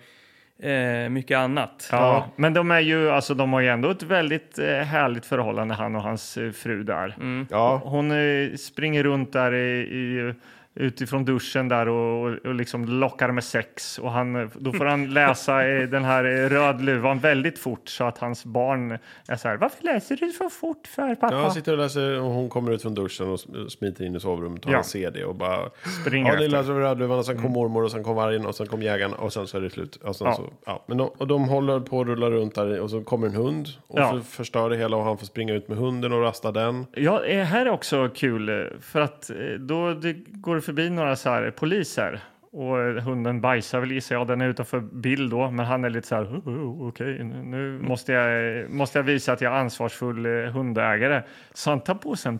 Speaker 3: eh, mycket annat.
Speaker 2: Ja, men de är ju, alltså de har ju ändå ett väldigt eh, härligt förhållande han och hans eh, fru där.
Speaker 3: Mm.
Speaker 1: Ja,
Speaker 2: Hon eh, springer runt där i, i, utifrån duschen där och, och, och liksom lockar med sex och han, eh, då får han läsa eh, den här eh, röd luvan väldigt fort så att hans barn är så här, varför läser du så fort för pappa?
Speaker 1: ja, han sitter och läser och hon kommer ut från duschen och sm- smiter in i sovrummet och
Speaker 2: Ja.
Speaker 1: han ser det och bara...
Speaker 2: Springer
Speaker 1: Ja, det
Speaker 2: efter.
Speaker 1: läser över Rödluvan och sen kom mormor och sen kom vargen och sen kom jägaren och sen så är det slut. Och, sen
Speaker 2: Ja.
Speaker 1: Så, ja. Men de, och de håller på att rulla runt där och så kommer en hund och
Speaker 2: Ja.
Speaker 1: så förstör det hela och han får springa ut med hunden och rasta den.
Speaker 2: Ja, eh, här är också kul eh, för att eh, då det går förbi några så här poliser och eh, hunden bajsar väl gissar jag. Den är utanför bild då, men han är lite så här "Oh, oh, okej, nu- nu måste jag, eh, måste jag visa att jag är ansvarsfull eh, hundägare. Så han tar på sig en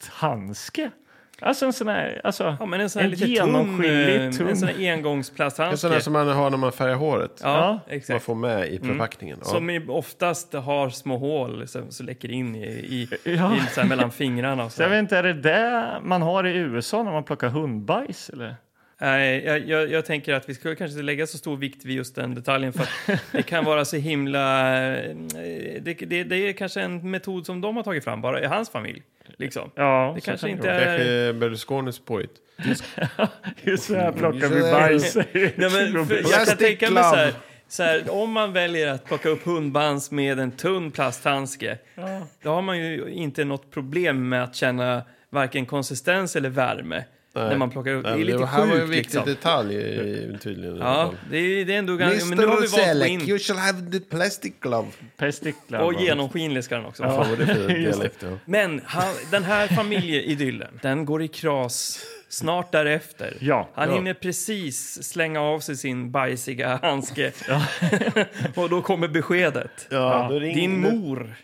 Speaker 2: plasthandske. Alltså en sån här, alltså
Speaker 3: Ja, men en sån här
Speaker 2: en
Speaker 3: lite
Speaker 2: genomskinlig
Speaker 3: tunn, eh, en sån här engångsplasthandske.
Speaker 1: En sån där som man har när man färgar håret.
Speaker 3: ja,
Speaker 1: Man
Speaker 3: exakt.
Speaker 1: får med i förpackningen. Ja.
Speaker 3: Som ju oftast har små hål liksom, som så läcker in i, i,
Speaker 2: Ja.
Speaker 3: i så här mellan fingrarna. Och så
Speaker 2: jag vet
Speaker 3: här.
Speaker 2: inte, är det det man har i USA när man plockar hundbajs? Eller?
Speaker 3: Nej, jag, jag, jag tänker att vi skulle kanske inte lägga så stor vikt vid just den detaljen för att det kan vara så himla... eh, Det, det, det är kanske en metod som de har tagit fram bara i hans familj. Liksom.
Speaker 2: Ja,
Speaker 3: Det
Speaker 2: så
Speaker 3: kanske
Speaker 2: kan
Speaker 3: inte
Speaker 2: vara.
Speaker 1: Kanske
Speaker 3: är...
Speaker 1: är Berlusconis påhitt.
Speaker 2: Just så här plockar
Speaker 1: Så
Speaker 2: vi
Speaker 1: här-
Speaker 2: bajs.
Speaker 3: Nej, men, för, jag kan
Speaker 1: Plastic
Speaker 3: tänka mig så här,
Speaker 1: glove.
Speaker 3: så här, om man väljer att plocka upp hundbands med en tunn plasthandske då har man ju inte något problem med att känna varken konsistens eller värme när man plockar upp.
Speaker 1: Nej,
Speaker 3: det är
Speaker 1: men
Speaker 3: lite
Speaker 1: var- här var ju en
Speaker 3: sjukt
Speaker 1: viktig
Speaker 3: liksom.
Speaker 1: detalj i- tydligen. i alla
Speaker 3: Ja,
Speaker 1: fall.
Speaker 3: det är, det är ändå ganska... Men nu har
Speaker 1: Mr
Speaker 3: vi valt att gå
Speaker 1: Selleck, you
Speaker 3: in.
Speaker 1: shall have the plastic glove.
Speaker 2: Pestiklar.
Speaker 3: Och
Speaker 2: va?
Speaker 3: genomskinlig ska den också
Speaker 1: Fan
Speaker 3: vara.
Speaker 1: vad det är för dialekt. Ja.
Speaker 3: Men han, den här familjeidyllen, den går i kras snart därefter.
Speaker 2: Ja,
Speaker 3: han
Speaker 2: ja.
Speaker 3: hinner precis slänga av sig sin bajsiga handske. och då kommer beskedet.
Speaker 1: Ja, då ringer-
Speaker 3: Din mor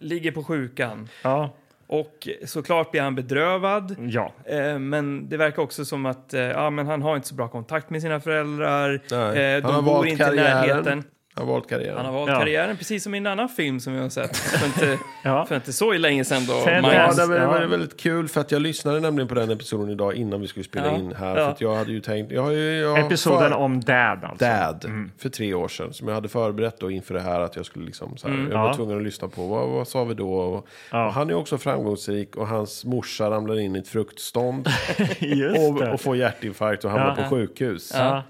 Speaker 3: ligger på sjukan.
Speaker 2: Ja.
Speaker 3: Och såklart blir han bedrövad.
Speaker 1: Mm.
Speaker 2: ja.
Speaker 3: Eh, Men det verkar också som att eh, ja, men han har inte så bra kontakt med sina föräldrar.
Speaker 1: Nej.
Speaker 3: Eh,
Speaker 1: Han har
Speaker 3: De bor
Speaker 1: valt
Speaker 3: inte i
Speaker 1: karriären.
Speaker 3: närheten.
Speaker 1: Han har valt karriären.
Speaker 3: Han har valt
Speaker 2: Ja.
Speaker 3: karriären, precis som i en annan film som vi har sett. För inte,
Speaker 2: Ja.
Speaker 3: för inte så länge sedan då.
Speaker 2: Sen-
Speaker 1: Ja,
Speaker 3: Magnus.
Speaker 1: det var, det var
Speaker 2: Ja.
Speaker 1: väldigt kul för att jag lyssnade nämligen på den episoden idag innan vi skulle spela
Speaker 3: Ja,
Speaker 1: in här.
Speaker 3: ja.
Speaker 1: För att jag hade ju tänkt, jag har ju... Jag har
Speaker 2: Episoden
Speaker 1: för,
Speaker 2: om Dad alltså.
Speaker 1: Dad
Speaker 3: Mm.
Speaker 1: för tre år sedan som jag hade förberett då inför det här att jag skulle liksom så här,
Speaker 3: Mm.
Speaker 1: jag var
Speaker 2: ja.
Speaker 1: tvungen att lyssna på vad, vad sa vi då? Och, och han är också framgångsrik och hans morsa ramlar in i ett fruktstånd
Speaker 2: Just
Speaker 1: och,
Speaker 2: det.
Speaker 1: och får hjärtinfarkt och hamnar på sjukhus.
Speaker 2: Ja.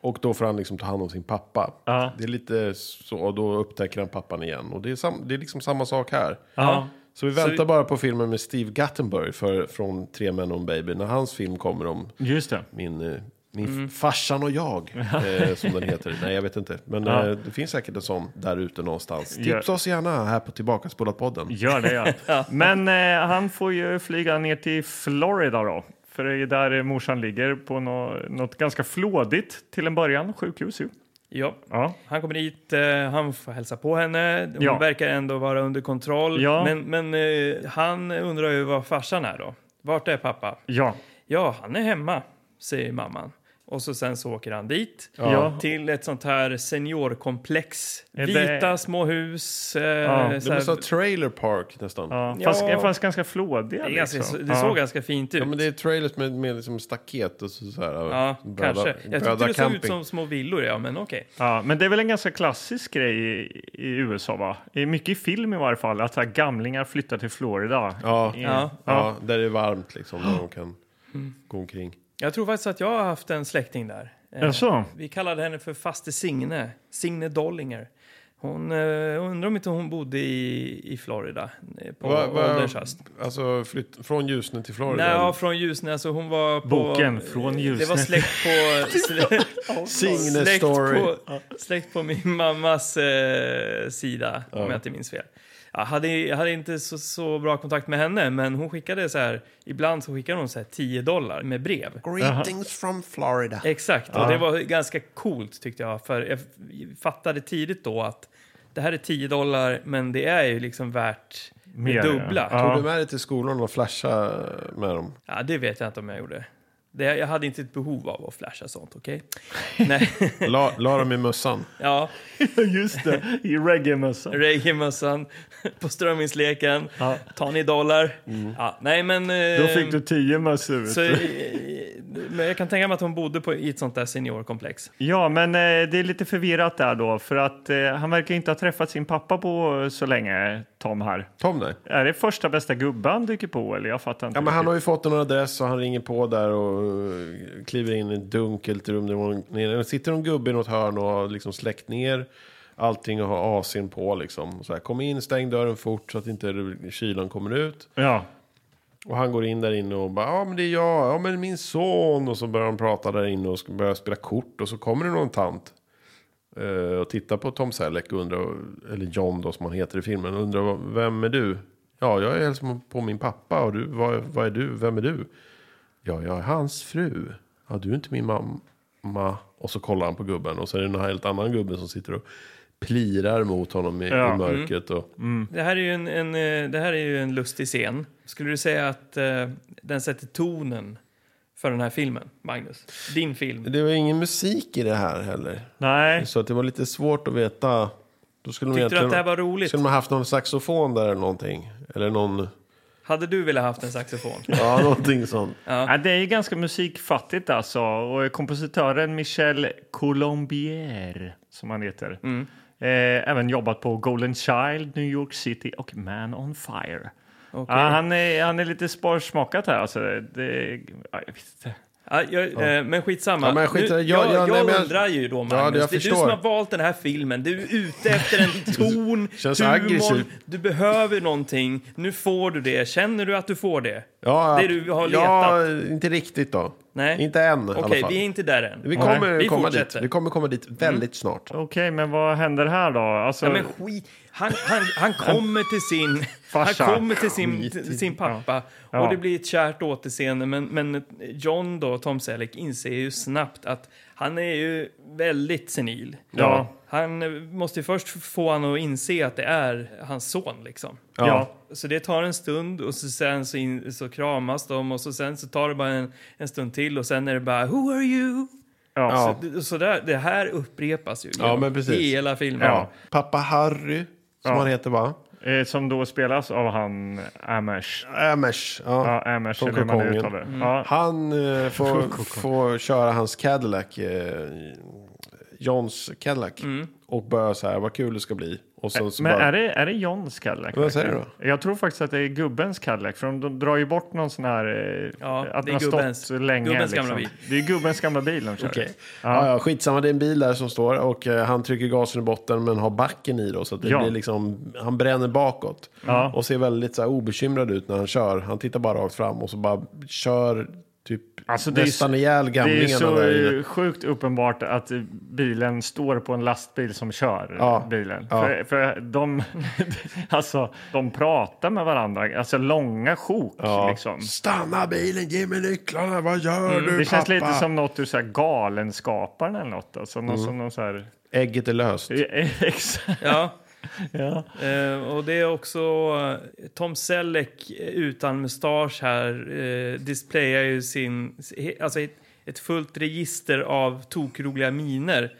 Speaker 1: Och då får han liksom ta hand om sin pappa.
Speaker 2: Ja.
Speaker 1: Det är lite så, och då upptäcker han pappan igen. Och det är, sam, det är liksom samma sak här.
Speaker 2: Ja.
Speaker 1: Så vi väntar bara på filmen med Steve Guttenberg för, från Tre män och en baby. När hans film kommer om
Speaker 2: Just det.
Speaker 1: min, eh, min
Speaker 2: Mm.
Speaker 1: farsan och jag, eh, som den heter. Nej, jag vet inte. Men
Speaker 2: Ja.
Speaker 1: eh, det finns säkert en sån där ute någonstans.
Speaker 2: Ja.
Speaker 1: Tipsa oss gärna här på Tillbakaspolat-podden.
Speaker 2: Gör det ja. Men eh, han får ju flyga ner till Florida då. För det är ju där eh, morsan ligger på nå- något ganska flådigt till en början. Sjukhus ju.
Speaker 3: Ja.
Speaker 2: Ja.
Speaker 3: Han kommer dit, eh, han får hälsa på henne. Hon
Speaker 2: Ja.
Speaker 3: verkar ändå vara under kontroll.
Speaker 2: Ja.
Speaker 3: Men, men eh, han undrar ju var farsan är då. Vart är pappa?
Speaker 2: Ja.
Speaker 3: Ja, han är hemma, säger mamman. Och så sen så åker han dit
Speaker 2: Ja.
Speaker 3: till ett sånt här seniorkomplex.
Speaker 2: Är det-
Speaker 3: Vita små hus. Eh,
Speaker 1: Det
Speaker 3: så
Speaker 1: var
Speaker 3: här,
Speaker 1: så här trailer park nästan. Ja.
Speaker 2: ja. Fast,
Speaker 3: Ja.
Speaker 2: fast ganska flådiga.
Speaker 3: det är ganska,
Speaker 2: liksom.
Speaker 3: det såg ganska fint ut.
Speaker 1: men det är trailers med, med liksom staket och så, så här.
Speaker 3: Ja,
Speaker 1: bröda-
Speaker 3: kanske. Jag tyckte
Speaker 1: bröda
Speaker 3: det såg ut
Speaker 1: camping. Mm.
Speaker 3: som små villor, ja, men okej.
Speaker 2: Ja, men det är väl en ganska klassisk grej i, i USA, va? I mycket i film i varje fall, att så här, gamlingar flyttar till Florida.
Speaker 1: Ja, Mm. ja.
Speaker 3: Ja. Mm.
Speaker 1: där det är varmt liksom. Där de kan gå omkring.
Speaker 3: Jag tror faktiskt att jag har haft en släkting där. Eh,
Speaker 2: Jaså?
Speaker 3: Vi kallade henne för faste Signe, Signe Dollinger. Hon eh, undrar om inte hon bodde i, i Florida eh, på
Speaker 1: Va- va-
Speaker 3: ålderns höst.
Speaker 1: Alltså flytt, från Ljusne till Florida?
Speaker 3: Nej, ja, från Ljusne. Alltså hon var på...
Speaker 2: Boken Från
Speaker 3: Det var
Speaker 2: Ljusne.
Speaker 3: släkt på... slä-
Speaker 1: Signe
Speaker 3: släkt,
Speaker 1: Story.
Speaker 3: på släkt på min mammas eh, sida, om jag inte minns fel. Jag hade, jag hade inte så, så bra kontakt med henne, men hon skickade så här... Ibland så skickade hon så här 10 dollar med brev.
Speaker 1: Greetings from Florida.
Speaker 3: Exakt, och det var ganska coolt tyckte jag. För jag fattade tidigt då att det här är 10 dollar, men det är ju liksom värt
Speaker 2: Mer,
Speaker 3: det dubbla.
Speaker 2: ja.
Speaker 3: Ja.
Speaker 1: Tog du med dig till skolan och flashade med dem?
Speaker 3: det vet jag inte om jag gjorde. Det, jag hade inte ett behov av att flasha sånt, okej? Nej,
Speaker 1: La, la dem i mössan?
Speaker 3: ja.
Speaker 2: Just det, i reggae-mössa.
Speaker 3: Reagan-mössan på strömmingsleken.
Speaker 2: Ja. Mm.
Speaker 3: Tar ni dollar? Ja, nej, men... eh,
Speaker 2: Då fick du tio mössor. vet
Speaker 3: så,
Speaker 2: du.
Speaker 3: eh, men jag kan tänka mig att hon bodde på, i ett sånt där seniorkomplex.
Speaker 2: Ja, men eh, det är lite förvirrat där då, för att eh, han verkar inte ha träffat sin pappa på eh, så länge, Tom här.
Speaker 1: Tom nej.
Speaker 2: Är det första bästa gubban dyker på eller? Jag fattar inte.
Speaker 1: Ja, men han
Speaker 2: riktigt.
Speaker 1: har ju fått en adress och han ringer på där och eh, kliver in i ett dunkelt rum. Där hon, nere. sitter en gubbe i något hörn och har liksom släckt ner allting och har AC'n på liksom. Så här, kom in, stäng dörren fort så att inte kylan kommer ut.
Speaker 2: Ja,
Speaker 1: Och han går in där inne och bara, ja men det är jag, ja men min son. Och så börjar de prata där inne och ska- börjar spela kort. Och så kommer det någon tant. eh, Och tittar på Tom Selleck och undrar, eller John då som han heter i filmen. och Undrar, vad- vem är du? Ja, jag är hälsar på min pappa. Och du, vad, vad är du? Vem är du? Ja, jag är hans fru. Ja, du är inte min mamma. Och så kollar han på gubben. Och så är det en helt annan gubbe som sitter och plirar mot honom i,
Speaker 2: Ja,
Speaker 1: i mörkret. Och,
Speaker 2: Mm.
Speaker 3: Det här, är ju en, en, eh, det här är ju en lustig scen. Skulle du säga att eh, den sätter tonen för den här filmen, Magnus? Din film.
Speaker 1: Det var ingen musik i det här heller.
Speaker 2: nej.
Speaker 1: Så att det var lite svårt att veta. Då skulle de
Speaker 3: Tyckte du
Speaker 1: egentligen-
Speaker 3: att det här var roligt?
Speaker 1: Skulle de ha haft någon saxofon där eller någonting? Eller någon...
Speaker 3: Hade du velat haft en saxofon?
Speaker 1: Ja, någonting sånt.
Speaker 2: Ja, det är ju ganska musikfattigt alltså. Och kompositören Michel Colombier, som han heter,
Speaker 1: Mm.
Speaker 2: eh, även jobbat på Golden Child, New York City och Man on Fire.
Speaker 3: Okej.
Speaker 2: Ja, han, är, han är lite sparsmakat här alltså. Det, ja, jag vet inte.
Speaker 3: Ja, jag, eh, Men skitsamma.
Speaker 1: Ja, men skit i det.
Speaker 3: nu,
Speaker 1: Ja,
Speaker 3: jag
Speaker 1: ja,
Speaker 3: jag
Speaker 1: nej, men jag-
Speaker 3: undrar ju då,
Speaker 1: Ja,
Speaker 3: Magnus.
Speaker 1: det- jag
Speaker 3: det är du
Speaker 1: förstår.
Speaker 3: som har valt den här filmen. Du är ute efter en ton,
Speaker 1: Känns
Speaker 3: humor,
Speaker 1: aggressiv.
Speaker 3: du behöver någonting. Nu får du det. Känner du att du får det?
Speaker 1: Ja,
Speaker 3: Det du har
Speaker 1: Ja, inte riktigt då.
Speaker 3: Nej.
Speaker 1: Inte än i alla
Speaker 3: Okej,
Speaker 1: fall.
Speaker 3: vi är
Speaker 1: Vi,
Speaker 3: inte där än.
Speaker 1: kommer
Speaker 3: vi
Speaker 1: komma dit.
Speaker 3: fortsätter. Mm.
Speaker 1: Vi kommer komma dit väldigt snart.
Speaker 2: Okej, men vad händer här då? Alltså,
Speaker 3: Ja, men skit. Han, han, han kommer till sin,
Speaker 2: Farsa.
Speaker 3: han kommer till sin, till sin pappa
Speaker 2: Ja.
Speaker 3: och det blir ett kärt återseende. Men, men John, då, Tom Selleck, inser ju snabbt att han är ju väldigt senil.
Speaker 2: Ja.
Speaker 3: Han eh, måste ju först få han att inse att det är hans son. liksom.
Speaker 2: ja.
Speaker 3: Så det tar en stund och så sen så, in, så kramas de och så sen så tar det bara en, en stund till och sen är det bara Who are you?
Speaker 2: ja.
Speaker 1: Ja.
Speaker 3: Det- Så där, det här upprepas ju
Speaker 1: Ja,
Speaker 3: genom
Speaker 1: men precis.
Speaker 3: hela filmen.
Speaker 2: Ja.
Speaker 1: Pappa Harry, som
Speaker 2: Ja.
Speaker 1: han heter va?
Speaker 2: Eh, som då spelas av han Amish.
Speaker 1: Amish. Ja.
Speaker 2: Ja, Amish
Speaker 1: Från
Speaker 2: eller hur man nu
Speaker 1: kokongen.
Speaker 2: uttalar
Speaker 3: Mm.
Speaker 2: det. Ja.
Speaker 1: Han eh, får, får köra hans Cadillac, eh, Johns Cadillac.
Speaker 3: Mm.
Speaker 1: Och börjar så här, vad kul det ska bli. Och sen så
Speaker 2: Men
Speaker 1: bara,
Speaker 2: är det, är det Johns Cadillac?
Speaker 1: Vad säger
Speaker 2: verkligen? Jag tror faktiskt att det är gubbens Cadillac, för de, de drar ju bort någon sån här... eh,
Speaker 3: Ja,
Speaker 2: att
Speaker 3: det är
Speaker 2: den har
Speaker 3: gubbens-
Speaker 2: stått länge.
Speaker 3: gubbens
Speaker 2: liksom.
Speaker 3: gamla bil.
Speaker 2: Det är gubbens gamla bil de kör.
Speaker 1: Okej. Ja. Ja, skitsamma, det är en bil där som står och eh, han trycker gasen i botten men har backen i då. Så att det
Speaker 2: Ja.
Speaker 1: blir liksom, han bränner bakåt.
Speaker 2: Ja.
Speaker 1: Och ser väldigt så här, obekymrad ut när han kör. Han tittar bara rakt fram och så bara kör typ
Speaker 2: Alltså, det är
Speaker 1: nästan
Speaker 2: så-
Speaker 1: ihjäl
Speaker 2: Det är
Speaker 1: gamlingarna
Speaker 2: så
Speaker 1: där inne.
Speaker 2: eh, sjukt uppenbart att eh, bilen står på en lastbil som kör
Speaker 1: Ja.
Speaker 2: bilen.
Speaker 1: Ja.
Speaker 2: För, för de, alltså, de pratar med varandra, alltså långa sjok. Liksom.
Speaker 1: Stanna bilen, ge mig nycklarna, vad gör du
Speaker 2: Mm, Det
Speaker 1: pappa? Mm.
Speaker 2: känns lite som något ur så här Galenskaparna eller något. Alltså, någon, som någon så här,
Speaker 1: Ägget är löst.
Speaker 2: exakt.
Speaker 3: Ja.
Speaker 2: Ja.
Speaker 3: Eh, och det är också eh, Tom Selleck eh, utan mustasch här eh, displayar ju sin, he- alltså ett, ett fullt register av tokroliga miner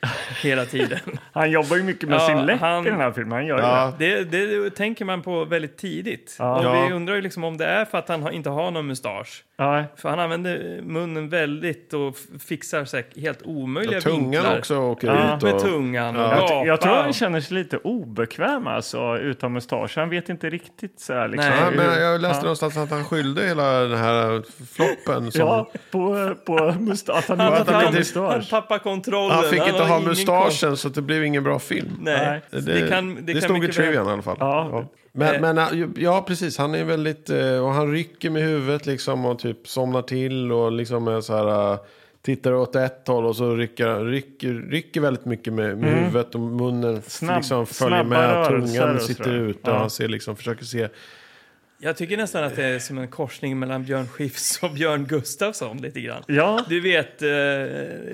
Speaker 3: hela tiden.
Speaker 2: Han jobbar ju mycket med
Speaker 3: Ja,
Speaker 2: sin läpp
Speaker 3: han-
Speaker 2: i den här filmen. Han gör ju
Speaker 1: Ja.
Speaker 2: det.
Speaker 3: Det, det tänker man på väldigt tidigt.
Speaker 2: Ja.
Speaker 3: Och vi
Speaker 1: Ja.
Speaker 3: undrar ju liksom om det är för att han har, inte har någon mustasch.
Speaker 2: Ja.
Speaker 3: För han använder munnen väldigt och f- fixar sig helt omöjliga
Speaker 1: Tungan
Speaker 3: vinklar.
Speaker 1: också åker
Speaker 2: Ja,
Speaker 1: ut. Och...
Speaker 3: Med tungan och
Speaker 2: Jag,
Speaker 3: gapar.
Speaker 2: tr- jag tror han känner sig lite obekväm alltså, utan mustasch. Han vet inte riktigt så här, liksom,
Speaker 1: Ja,
Speaker 3: Nej,
Speaker 1: men
Speaker 2: hur-
Speaker 1: jag läste någonstans att han skyllde hela den här floppen som
Speaker 2: Ja, på, på mustasch. Han
Speaker 1: Vad
Speaker 2: hade
Speaker 1: att han
Speaker 2: inte
Speaker 1: inte-
Speaker 2: mustasch.
Speaker 3: Han tappade kontrollen.
Speaker 1: Han fick inte
Speaker 3: har
Speaker 1: ha
Speaker 3: ingen koll.
Speaker 1: mustaschen så det blev ingen bra film.
Speaker 3: Nej,
Speaker 1: Det,
Speaker 3: det, kan, det, kan
Speaker 1: stod i
Speaker 3: mycket väl-
Speaker 1: trivian i alla fall.
Speaker 2: Ja.
Speaker 1: Men,
Speaker 3: Eh.
Speaker 1: men äh, ja, precis. Han är väldigt... eh, Och han rycker med huvudet liksom och typ somnar till och liksom är så här... äh, Tittar åt ett håll och så rycker, rycker, rycker väldigt mycket med,
Speaker 3: Mm.
Speaker 1: med huvudet och munnen f-
Speaker 2: Snabb-
Speaker 1: liksom följer
Speaker 2: snabba
Speaker 1: med.
Speaker 2: rörelser
Speaker 1: Tungan
Speaker 2: och så
Speaker 1: sitter
Speaker 2: där.
Speaker 1: ut och
Speaker 2: Ja.
Speaker 1: han ser liksom, försöker se.
Speaker 3: Jag tycker nästan att det är som en korsning mellan Björn Skifs och Björn Gustafsson lite grann.
Speaker 2: Ja,
Speaker 3: Du vet eh,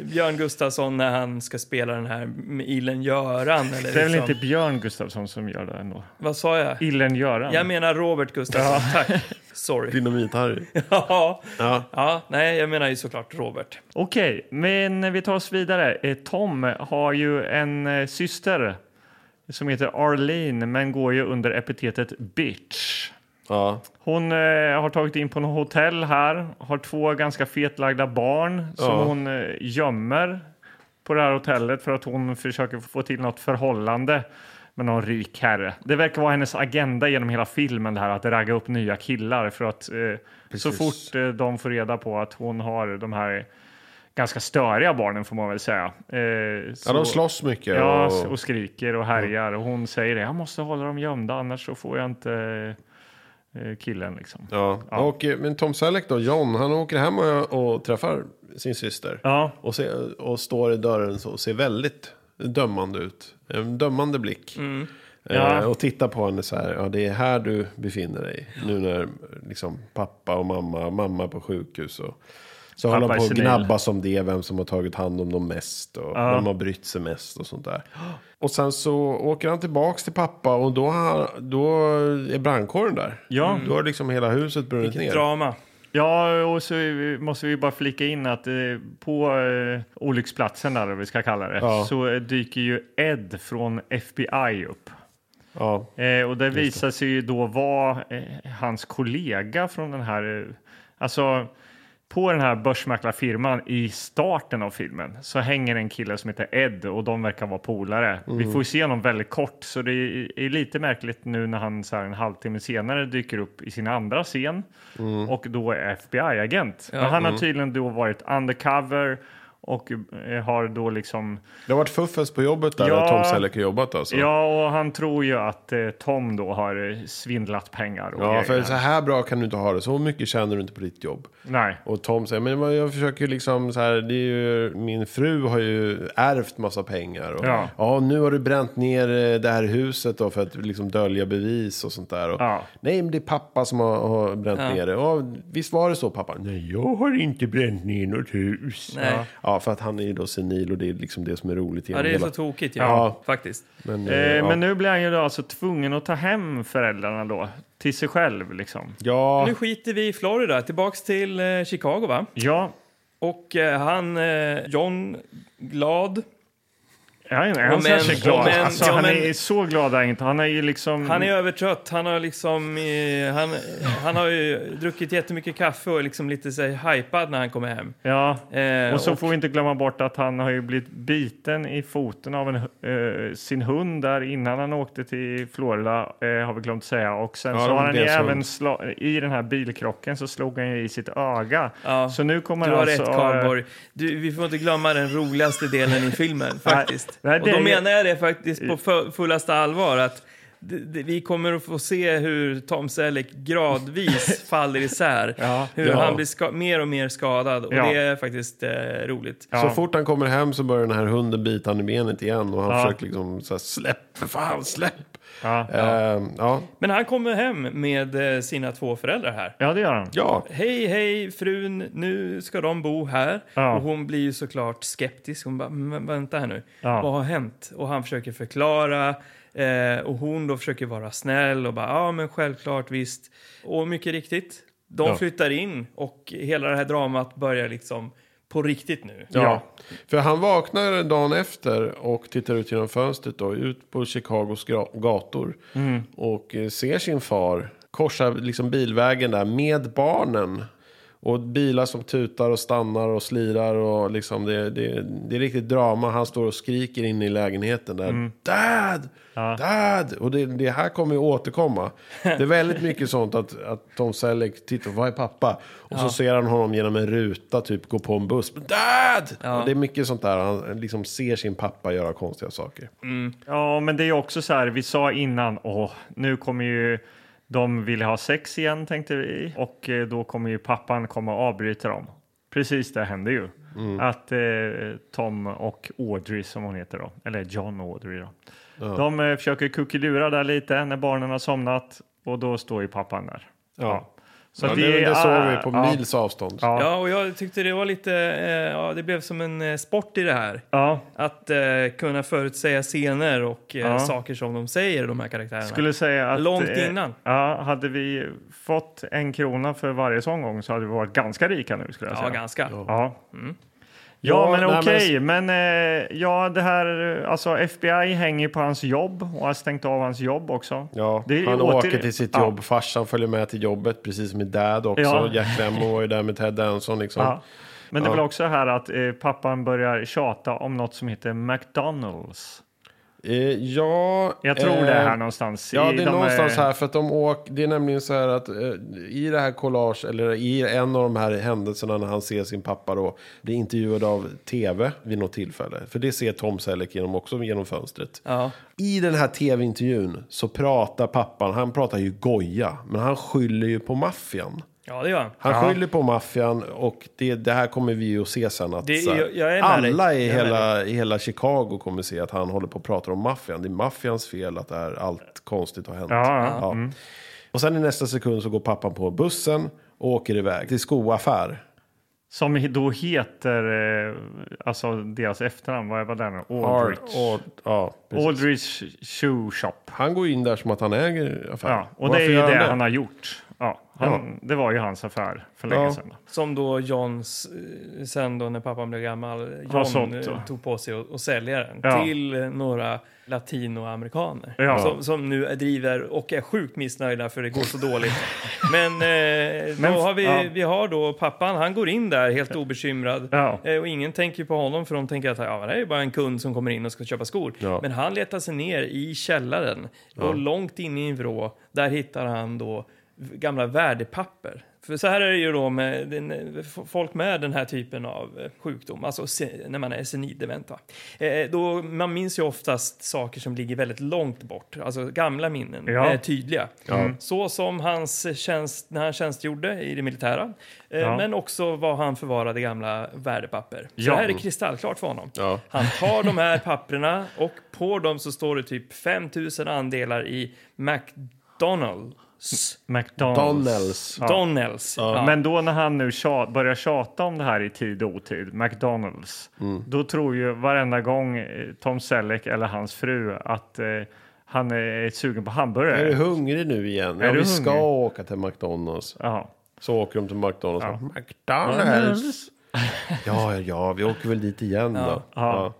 Speaker 3: Björn Gustafsson när han ska spela den här med Ilen Göran. Eller
Speaker 2: det är väl
Speaker 3: liksom,
Speaker 2: inte Björn Gustafsson som gör det ändå?
Speaker 3: Vad sa jag?
Speaker 2: Illen Göran.
Speaker 3: Jag menar Robert Gustafsson, tack. Sorry.
Speaker 1: Dynamit-Harry.
Speaker 3: ja.
Speaker 1: Ja.
Speaker 3: ja, nej, jag menar ju såklart Robert.
Speaker 2: Okej, men vi tar oss vidare. Eh, Tom har ju en eh, syster som heter Arlene, men går ju under epitetet bitch.
Speaker 1: Ja.
Speaker 2: Hon eh, har tagit in på något hotell här, har två ganska fetlagda barn som
Speaker 1: Ja.
Speaker 2: hon eh, gömmer på det här hotellet för att hon försöker få till något förhållande med någon rik herre. Det verkar vara hennes agenda genom hela filmen det här att ragga upp nya killar för att eh, så fort eh, de får reda på att hon har de här ganska störiga barnen får man väl säga. Eh,
Speaker 1: ja, de
Speaker 2: så-
Speaker 1: slåss mycket.
Speaker 2: Ja,
Speaker 1: och-
Speaker 2: s- och skriker och härjar. Och hon säger det, jag måste hålla dem gömda annars så får jag inte eh, killen liksom.
Speaker 1: Ja. Och, eh, men Tom Selleck då, John, han åker hem och, och träffar sin syster.
Speaker 2: Ja,
Speaker 1: Och, ser, och står i dörren så och ser väldigt dömande ut. En dömande blick.
Speaker 2: Mm. Ja.
Speaker 1: Eh, och tittar på henne så här, ja det är här du befinner dig. Nu när liksom, pappa och mamma, mamma är på sjukhus. Och, så håller
Speaker 2: Pappa
Speaker 1: de på
Speaker 2: är
Speaker 1: och
Speaker 2: senil.
Speaker 1: gnabbas om det, vem som har tagit hand om dem mest och vem har brytt sig mest och sånt där. Och sen så åker han tillbaks till pappa och då, har, då är brandkåren där.
Speaker 2: Ja.
Speaker 1: Då har liksom hela huset brunnit ner.
Speaker 3: Drama.
Speaker 2: ja och så måste vi bara flika in att eh, på eh, olycksplatsen där, eller vad vi ska kalla det,
Speaker 1: Ja.
Speaker 2: så eh, dyker ju Ed från FBI upp.
Speaker 1: Ja.
Speaker 2: Eh, och det visar sig ju då vara eh, hans kollega från den här, eh, alltså på den här börsmäklarfirman i starten av filmen så hänger en kille som heter Ed och de verkar vara polare. Vi får ju se honom väldigt kort så det är, är lite märkligt nu när han så här en halvtimme senare dyker upp i sin andra scen och då är FBI-agent. Men han har tydligen då varit undercover och eh, har då liksom
Speaker 1: Det har varit fuffens på jobbet där,
Speaker 2: Ja.
Speaker 1: där Tom Selleck har jobbat alltså.
Speaker 2: Ja, och han tror ju att eh, Tom då har eh, svindlat pengar. Och
Speaker 1: Ja,
Speaker 2: grejer.
Speaker 1: för så här bra kan du inte ha det. Så mycket tjänar du inte på ditt jobb.
Speaker 2: Nej.
Speaker 1: Och Tom säger, men vad- jag försöker ju liksom så här, det är ju, min fru har ju ärvt massa pengar. Och,
Speaker 2: Ja.
Speaker 1: nu har du bränt ner eh, det här huset då för att liksom dölja bevis och sånt där. Och,
Speaker 2: Ja.
Speaker 1: Nej, men det är pappa som har, har bränt ner det. Och, visst var det så pappa? Nej, jag har inte bränt ner något hus.
Speaker 3: Nej.
Speaker 1: Ja. för att han är ju då senil och det är liksom det som är roligt.
Speaker 3: Ja,
Speaker 1: genom
Speaker 3: det är
Speaker 1: hela-
Speaker 3: så tokigt ju,
Speaker 1: Ja.
Speaker 3: faktiskt.
Speaker 1: men, eh,
Speaker 2: Eh,
Speaker 1: ja.
Speaker 2: Men nu blir han ju då alltså tvungen att ta hem föräldrarna då, till sig själv liksom.
Speaker 1: ja.
Speaker 3: Nu skiter vi i Florida, tillbaks till eh, Chicago va?
Speaker 2: Ja,
Speaker 3: Och eh, han, eh, John Glad,
Speaker 2: ja är
Speaker 3: Ja,
Speaker 2: han
Speaker 3: men-
Speaker 2: kanske glad?
Speaker 3: ja, men-
Speaker 2: alltså,
Speaker 3: ja,
Speaker 2: han
Speaker 3: men-
Speaker 2: är så glad är inte. Han är ju liksom...
Speaker 3: han är övertrött. Han har liksom, eh, han, han har ju druckit jättemycket kaffe och är liksom lite så här, hypad när han kommer hem.
Speaker 2: ja.
Speaker 3: Eh,
Speaker 2: Och så
Speaker 3: och-
Speaker 2: får vi inte glömma bort att han har ju blivit biten i foten av en, eh, sin hund där innan han åkte till Florida, eh, har vi glömt säga. Och sen
Speaker 1: Ja, det
Speaker 2: så
Speaker 1: var
Speaker 2: har han ju
Speaker 1: deras hund.
Speaker 2: även sla- i den här bilkrocken så slog han ju i sitt öga.
Speaker 3: Ja.
Speaker 2: Så nu kommer
Speaker 3: Du har
Speaker 2: alltså...
Speaker 3: rätt, Karlborg. Du, vi får inte glömma den roligaste delen i filmen, faktiskt.
Speaker 2: nej,
Speaker 3: och
Speaker 2: det
Speaker 3: då
Speaker 2: är-
Speaker 3: menar jag det faktiskt på fu- fullaste allvar, att d- d- vi kommer att få se hur Tom Selleck gradvis faller isär.
Speaker 2: Ja.
Speaker 3: hur
Speaker 1: Ja.
Speaker 3: han blir ska- mer och mer skadad. Och
Speaker 2: Ja.
Speaker 3: det är faktiskt eh, roligt.
Speaker 2: Ja.
Speaker 1: Så fort han kommer hem så börjar den här hunden bita honom i benet igen. Och han
Speaker 2: Ja.
Speaker 1: försöker liksom så här, släpp för fan, släpp.
Speaker 2: Ja.
Speaker 1: Ehm, ja.
Speaker 3: Men han kommer hem med eh, sina två föräldrar här.
Speaker 2: Ja, det gör han.
Speaker 1: ja.
Speaker 3: Hej, hej, frun, nu ska de bo här.
Speaker 2: Ja.
Speaker 3: Och hon blir ju såklart skeptisk. Hon bara, "Men vänta här nu,
Speaker 2: Ja.
Speaker 3: vad har hänt? Och han försöker förklara. Eh, och hon då försöker vara snäll och bara, ja men självklart, visst. Och mycket riktigt, de flyttar in och hela det här dramat börjar liksom på riktigt nu.
Speaker 1: Ja. För han vaknar dagen efter och tittar ut genom fönstret då, ut på Chicagos gra- gator.
Speaker 2: Mm.
Speaker 1: Och eh, ser sin far korsa liksom bilvägen där med barnen. Och bilar som tutar och stannar och slirar och liksom det, det, det är riktigt drama. Han står och skriker in i lägenheten där.
Speaker 2: Mm.
Speaker 1: Dad! Dad! Och det, det här kommer ju återkomma. Det är väldigt mycket sånt att, att Tom Selleck tittar, vad är pappa? Och så ser han honom genom en ruta, typ gå på en buss. Dad! Och det är mycket sånt där. Han liksom ser sin pappa göra konstiga saker.
Speaker 2: Ja, men det är också så här, vi sa innan, åh, nu kommer ju de vilja ha sex igen tänkte vi och eh, då kommer ju pappan komma och avbryta dem. Precis det hände ju.
Speaker 1: Mm.
Speaker 2: Att eh, Tom och Audrey som hon heter då, eller John och Audrey då. De eh, försöker kuckelura där lite när barnen har somnat och då står ju pappan där.
Speaker 1: Ja.
Speaker 2: Så
Speaker 1: ja,
Speaker 2: att
Speaker 1: det, det såg vi på
Speaker 2: ja,
Speaker 1: mils avstånd.
Speaker 2: Ja, ja.
Speaker 3: Ja, och jag tyckte det var lite, eh, ja, det blev som en eh, sport i det här.
Speaker 2: ja.
Speaker 3: Att eh, kunna förutsäga scener och eh,
Speaker 2: Ja.
Speaker 3: saker som de säger, de här karaktärerna.
Speaker 2: Skulle säga att,
Speaker 3: Långt
Speaker 2: eh,
Speaker 3: innan.
Speaker 2: Ja, hade vi fått en krona för varje sån gång så hade vi varit ganska rika nu skulle jag
Speaker 3: Ja,
Speaker 2: säga.
Speaker 3: ganska. Mm.
Speaker 2: Ja. Ja,
Speaker 1: Ja, nej,
Speaker 2: men
Speaker 1: men-
Speaker 2: okej. Men, eh, ja, det här, eh, alltså FBI hänger på hans jobb och har stängt av hans jobb också.
Speaker 1: Ja,
Speaker 2: Det är
Speaker 1: han
Speaker 2: åter-
Speaker 1: åker till sitt
Speaker 2: ja.
Speaker 1: jobb. Farsan följer med till jobbet, precis som i Dad också.
Speaker 2: Ja.
Speaker 1: Jack Lemmon var ju där med Ted Danson. Liksom.
Speaker 2: Ja. Men det är
Speaker 1: Ja.
Speaker 2: väl också här att eh, pappan börjar tjata om något som heter McDonalds.
Speaker 1: Eh, ja,
Speaker 2: Jag tror det är
Speaker 1: eh,
Speaker 2: här någonstans.
Speaker 1: Ja,
Speaker 2: i
Speaker 1: det är
Speaker 2: de, eh,
Speaker 1: någonstans här. För att de åk, det är nämligen så här att eh, i det här collage, eller i en av de här händelserna när han ser sin pappa då, blir intervjuad av tv vid något tillfälle. För det ser Tom Selleck genom också genom fönstret.
Speaker 3: Ja.
Speaker 1: I den här tv-intervjun så pratar pappan, han pratar ju goja, men han skyller ju på maffian.
Speaker 3: ja, det gör han.
Speaker 1: Han skyller på maffian och det, det här kommer vi ju att se sen. Att
Speaker 3: Det-
Speaker 1: så här,
Speaker 3: jag- jag är med
Speaker 1: alla
Speaker 3: dig.
Speaker 1: i
Speaker 3: Jag är
Speaker 1: hela, i hela Chicago kommer se att han håller på och pratar om maffian. Det är maffians fel att det här, allt konstigt har hänt.
Speaker 2: Ja, Mm. ja.
Speaker 1: Och sen i nästa sekund så går pappan på bussen och åker iväg till skoaffär.
Speaker 2: Som he- då heter, eh, alltså deras efternamn, vad var det nu? Aldrich.
Speaker 1: Or- ja, precis.
Speaker 2: Aldrich Shoe Shop.
Speaker 1: han går in där som att han äger affären.
Speaker 2: Ja, och
Speaker 1: Varför
Speaker 2: det är ju
Speaker 1: gör
Speaker 2: det, han har gjort. Ja, han, Det var ju hans affär för länge
Speaker 1: Ja.
Speaker 2: sedan.
Speaker 3: Som då Johns, eh, sen då när pappan blev gammal,
Speaker 2: Har
Speaker 3: John
Speaker 2: sålt
Speaker 3: eh,
Speaker 2: då.
Speaker 3: tog på sig att att sälja den
Speaker 2: Ja.
Speaker 3: till eh, några latinoamerikaner.
Speaker 2: Ja.
Speaker 3: Som, som nu är- driver och är sjukt missnöjda för det går så dåligt. Men, eh, då
Speaker 2: Men-
Speaker 3: har vi,
Speaker 2: ja.
Speaker 3: vi har då pappan, han går in där helt obekymrad.
Speaker 2: Ja.
Speaker 3: Eh, Och ingen tänker på honom för de tänker att ja, men det här är bara en kund som kommer in och ska köpa skor. Men han letar sig ner i källaren och långt inne i en vrå, där hittar han då v- gamla värdepapper. För så här är det ju då med den, f- folk med den här typen av eh, sjukdom, alltså se, när man är senildement. va. Eh, då, man minns ju oftast saker som ligger väldigt långt bort, alltså gamla minnen Eh, typ
Speaker 2: Ja.
Speaker 3: är tydliga. Mm. Så som hans tjänst, när han tjänstgjorde i det militära, eh,
Speaker 2: Ja.
Speaker 3: men också vad han förvarade gamla värdepapper. Så
Speaker 2: Ja.
Speaker 3: det här är kristallklart för honom.
Speaker 1: Ja.
Speaker 3: Han tar de här papperna och på dem så står det typ 5000 andelar i McDonalds.
Speaker 2: McDonalds.
Speaker 1: Donnells.
Speaker 3: Donalds. Ja.
Speaker 2: Men då när han nu tjat, börjar tjata om det här i tid och otid, McDonalds, då tror ju varenda gång eh, Tom Selleck eller hans fru att eh, han är sugen på hamburgare.
Speaker 1: Är du hungrig nu igen?
Speaker 2: Är
Speaker 1: ja,
Speaker 2: du
Speaker 1: vi ska
Speaker 2: hungrig?
Speaker 1: åka till McDonalds.
Speaker 2: Ja.
Speaker 1: Så åker de till McDonalds. McDonalds! ja, ja, ja, vi åker väl dit igen då. Ja.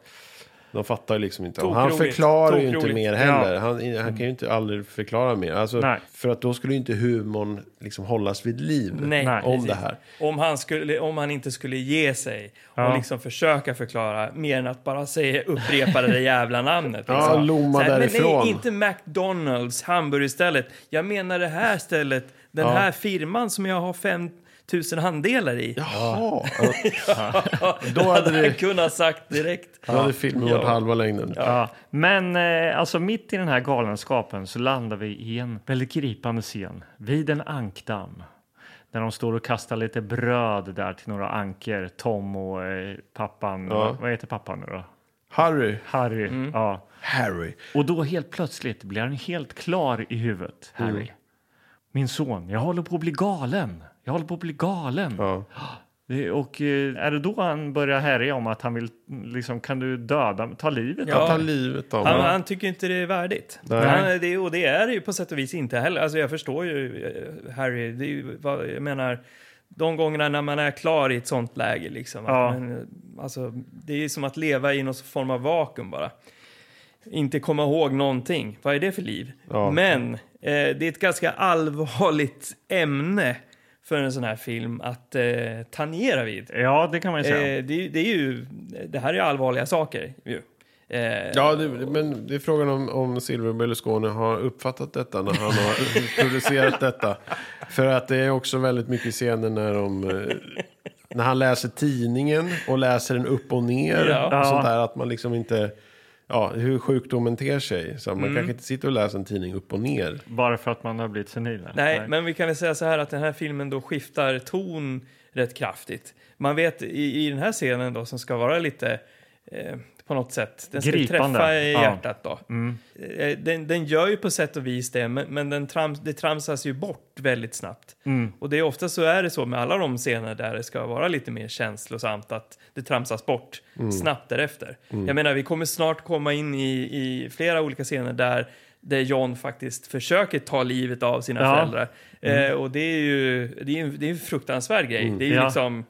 Speaker 1: De fattar ju liksom inte. Och Han
Speaker 3: Tokroligt.
Speaker 1: förklarar ju inte
Speaker 3: Tokroligt.
Speaker 1: mer heller. Han, han kan ju inte aldrig förklara mer. Alltså,
Speaker 2: Nej.
Speaker 1: för att då skulle ju inte humorn liksom hållas vid liv
Speaker 3: Nej,
Speaker 2: Nej.
Speaker 1: om
Speaker 3: precis.
Speaker 1: det här.
Speaker 3: Om han, skulle, om han inte skulle ge sig och
Speaker 2: Ja.
Speaker 3: liksom försöka förklara mer än att bara säga, upprepa det där jävla namnet.
Speaker 1: Ja,
Speaker 3: liksom.
Speaker 1: lomma
Speaker 3: Så här, Men
Speaker 1: därifrån."
Speaker 3: nej, inte McDonalds, hamburgerstället. Jag menar det här stället, den här firman som jag har 5000 andelar i.
Speaker 1: Jaha! Då hade
Speaker 3: Det hade
Speaker 1: det...
Speaker 3: han kunnat sagt direkt.
Speaker 1: Då hade filmen varit halva längden.
Speaker 2: Ja. Men eh, alltså mitt i den här galenskapen så landar vi i en väldigt gripande scen vid en ankdamm. Där de står och kastar lite bröd där till några anker. Tom och eh, pappan. Vad- Vad heter pappan nu då?
Speaker 1: Harry.
Speaker 2: Harry.
Speaker 3: Mm.
Speaker 2: Ja.
Speaker 1: Harry.
Speaker 2: Och då helt plötsligt blir han helt klar i huvudet, Harry. Min son, jag håller på att bli galen. Jag håller på att bli galen.
Speaker 1: Ja.
Speaker 2: Det- Och eh, är det då han börjar härja om att han vill, liksom, kan du döda, ta livet
Speaker 3: Ja.
Speaker 1: Han tar livet av
Speaker 3: Han,
Speaker 1: honom.
Speaker 3: han tycker inte det är värdigt.
Speaker 1: Nej.
Speaker 3: Han, det, och det är det ju på sätt och vis inte heller. Alltså jag förstår ju eh, Harry, det är ju, vad, jag menar de gångerna när man är klar i ett sånt läge liksom. att
Speaker 2: Ja.
Speaker 3: man, eh, alltså, det är ju som att leva i någon form av vakuum bara. Inte komma ihåg någonting. Vad är det för liv? Men eh, det är ett ganska allvarligt ämne för en sån här film att eh, tangera vid.
Speaker 2: Ja, det kan man ju
Speaker 3: Eh,
Speaker 2: säga.
Speaker 3: det, det är ju, det här är allvarliga saker ju. Eh,
Speaker 1: Ja, det, men det är frågan om, om Silver Berlusconi har uppfattat detta när han har producerat detta. För att det är också väldigt mycket scener när de... eh, När han läser tidningen och läser den upp och ner.
Speaker 3: Ja.
Speaker 1: Och sånt där att man liksom inte... Ja, hur sjukdomen ter sig. Så
Speaker 3: Mm.
Speaker 1: man kanske inte sitter och läser en tidning upp och ner.
Speaker 2: Bara för att man har blivit senil.
Speaker 3: Nej, men vi kan väl säga så här att den här filmen då skiftar ton rätt kraftigt. Man vet i, i den här scenen då som ska vara lite eh, på något sätt, den ska
Speaker 2: Gripande.
Speaker 3: träffa i
Speaker 2: Ja.
Speaker 3: hjärtat då.
Speaker 2: Mm.
Speaker 3: Eh, den, den gör ju på sätt och vis det, men, men den trams, det tramsas ju bort väldigt snabbt.
Speaker 2: Mm.
Speaker 3: Och det är ofta så är det så med alla de scener där det ska vara lite mer känslosamt att det tramsas bort snabbt därefter. Jag menar, vi kommer snart komma in i, i flera olika scener där där John faktiskt försöker ta livet av sina
Speaker 2: Ja. Mm.
Speaker 3: föräldrar. Eh, och det är ju det är, en- det är en fruktansvärd grej. Det är ju
Speaker 2: Ja.
Speaker 3: liksom,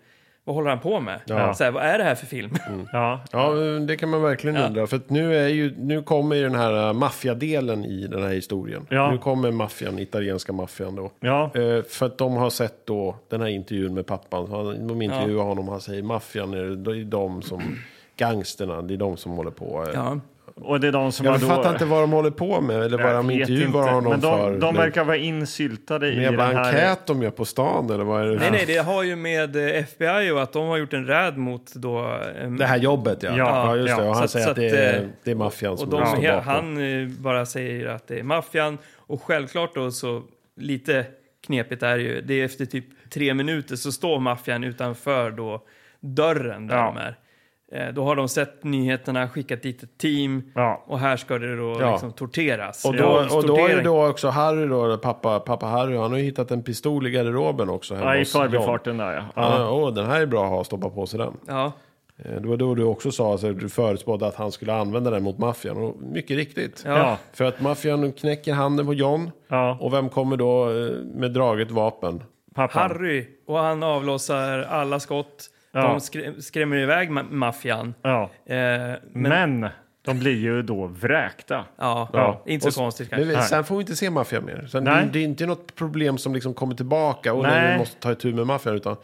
Speaker 3: vad håller han på med?
Speaker 1: Ja.
Speaker 3: Så här, vad är det här för film?
Speaker 2: Ja,
Speaker 1: Ja, det kan man verkligen undra. För att nu, är ju, nu kommer ju den här eh, maffiadelen i den här historien.
Speaker 2: Ja.
Speaker 1: Nu kommer maffian, italienska maffian då.
Speaker 2: ja.
Speaker 1: Eh, För att de har sett då den här intervjun med pappan. Så han- De intervjuar honom han säger maffian är det är de som, gangsterna, det är de som håller på. Eh,
Speaker 3: Ja.
Speaker 2: Och det är de som
Speaker 1: Jag
Speaker 2: har då...
Speaker 1: fattar inte vad de håller på med eller vad
Speaker 2: Jag
Speaker 1: de
Speaker 2: vet
Speaker 1: intervjuar
Speaker 2: inte,
Speaker 1: honom
Speaker 2: men de,
Speaker 1: för.
Speaker 2: De verkar vara insyltade i
Speaker 1: en
Speaker 2: den
Speaker 1: jävla
Speaker 2: här...
Speaker 1: enkät de gör på stan eller vad är det?
Speaker 3: Nej, nej, det har ju med eh, FBI och att de har gjort en räd mot då... ehm,
Speaker 1: Det här jobbet ja.
Speaker 2: Ja,
Speaker 1: just det.
Speaker 2: ja.
Speaker 1: Och han
Speaker 3: Så att-
Speaker 1: säger
Speaker 3: så
Speaker 1: att, det,
Speaker 3: att, eh,
Speaker 1: är, det är maffian
Speaker 3: Och
Speaker 1: som
Speaker 3: de,
Speaker 1: de, står
Speaker 3: he-
Speaker 1: bakom.
Speaker 3: han eh, bara säger att det är maffian. Och självklart då så lite knepigt är det ju. Det är efter typ tre minuter så står maffian utanför då dörren där
Speaker 2: Ja.
Speaker 3: de är. Eh, Då har de sett nyheterna, skickat dit ett team
Speaker 2: Ja.
Speaker 3: och här ska det då
Speaker 1: Ja.
Speaker 3: liksom torteras.
Speaker 1: Och då, och då är det då också Harry då, pappa, pappa Harry, han har ju hittat en pistol i garderoben också. hemma
Speaker 2: Ja, i
Speaker 1: hos John.
Speaker 2: förbifarten där ja.
Speaker 1: Ja,
Speaker 2: ja.
Speaker 1: åh, den här är bra att ha, stoppa på sig den.
Speaker 3: Ja.
Speaker 1: Eh, Det var då du också sa att du förutspådde att han skulle använda den mot maffian. Och mycket riktigt.
Speaker 3: Ja.
Speaker 2: Ja.
Speaker 1: För att maffian knäcker handen på John.
Speaker 2: Ja.
Speaker 1: Och vem kommer då eh, med draget vapen?
Speaker 2: Pappan.
Speaker 3: Harry och han avlossar alla skott.
Speaker 2: Ja.
Speaker 3: De skrä- skrämmer iväg ma- maffian.
Speaker 2: Ja.
Speaker 3: Eh, men,
Speaker 2: Men de blir ju då vräkta.
Speaker 3: ja,
Speaker 2: Ja.
Speaker 3: inte så
Speaker 1: Och s-
Speaker 3: konstigt kanske.
Speaker 1: Men vi- sen får vi inte se maffian mer. Sen,
Speaker 2: Nej.
Speaker 1: det, det är inte något problem som liksom kommer tillbaka och
Speaker 2: Nej.
Speaker 1: när vi måste ta itu med maffian. Utan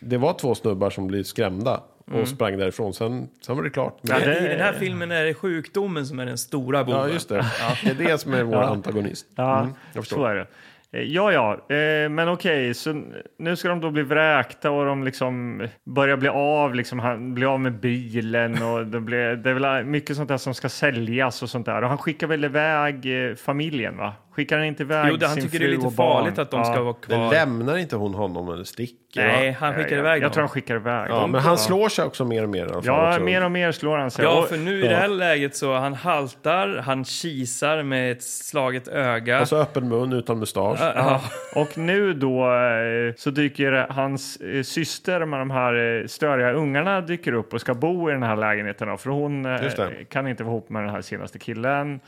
Speaker 1: det var två snubbar som blev skrämda och sprang därifrån. Sen, sen var det klart. Men,
Speaker 2: Mm. Ja,
Speaker 1: ja,
Speaker 2: det-
Speaker 3: I den här filmen är det sjukdomen som är den stora boven.
Speaker 1: just det. Det är det som är vår antagonist.
Speaker 2: Ja,
Speaker 1: Mm, jag förstår.
Speaker 2: så är det. Eh, Ja, ja, eh, men okej, så nu ska de då bli vräkta och de liksom börjar bli av, liksom, han blir av med bilen och det, blir, det är väl eh, mycket sånt där som ska säljas och sånt där. Och han skickar väl iväg eh, familjen, va? Skickar han inte iväg
Speaker 3: Jo, det, han
Speaker 2: sin
Speaker 3: tycker det
Speaker 2: fru
Speaker 3: är lite
Speaker 2: och barn?
Speaker 3: farligt att de ska vara
Speaker 1: Men
Speaker 3: kvar.
Speaker 1: lämnar inte hon honom eller sticker?
Speaker 3: Nej,
Speaker 1: va?
Speaker 3: han skickar
Speaker 2: jag,
Speaker 3: iväg
Speaker 2: Jag tror
Speaker 3: dem.
Speaker 2: han skickar iväg
Speaker 1: Ja,
Speaker 2: dem.
Speaker 1: men han slår sig också mer och mer. i alla fall
Speaker 2: Ja,
Speaker 1: också.
Speaker 2: mer och mer slår han sig.
Speaker 3: Ja,
Speaker 2: Och-
Speaker 3: för nu i det här läget så han haltar, han kisar med ett slaget öga.
Speaker 1: Och så Alltså öppen mun utan mustasch.
Speaker 3: Ja,
Speaker 2: Och nu då eh, så dyker det- hans eh, syster med de här eh, störiga ungarna dyker upp och ska bo i den här lägenheten. Då, för hon eh,
Speaker 1: Just det.
Speaker 2: kan inte vara ihop med den här senaste killen.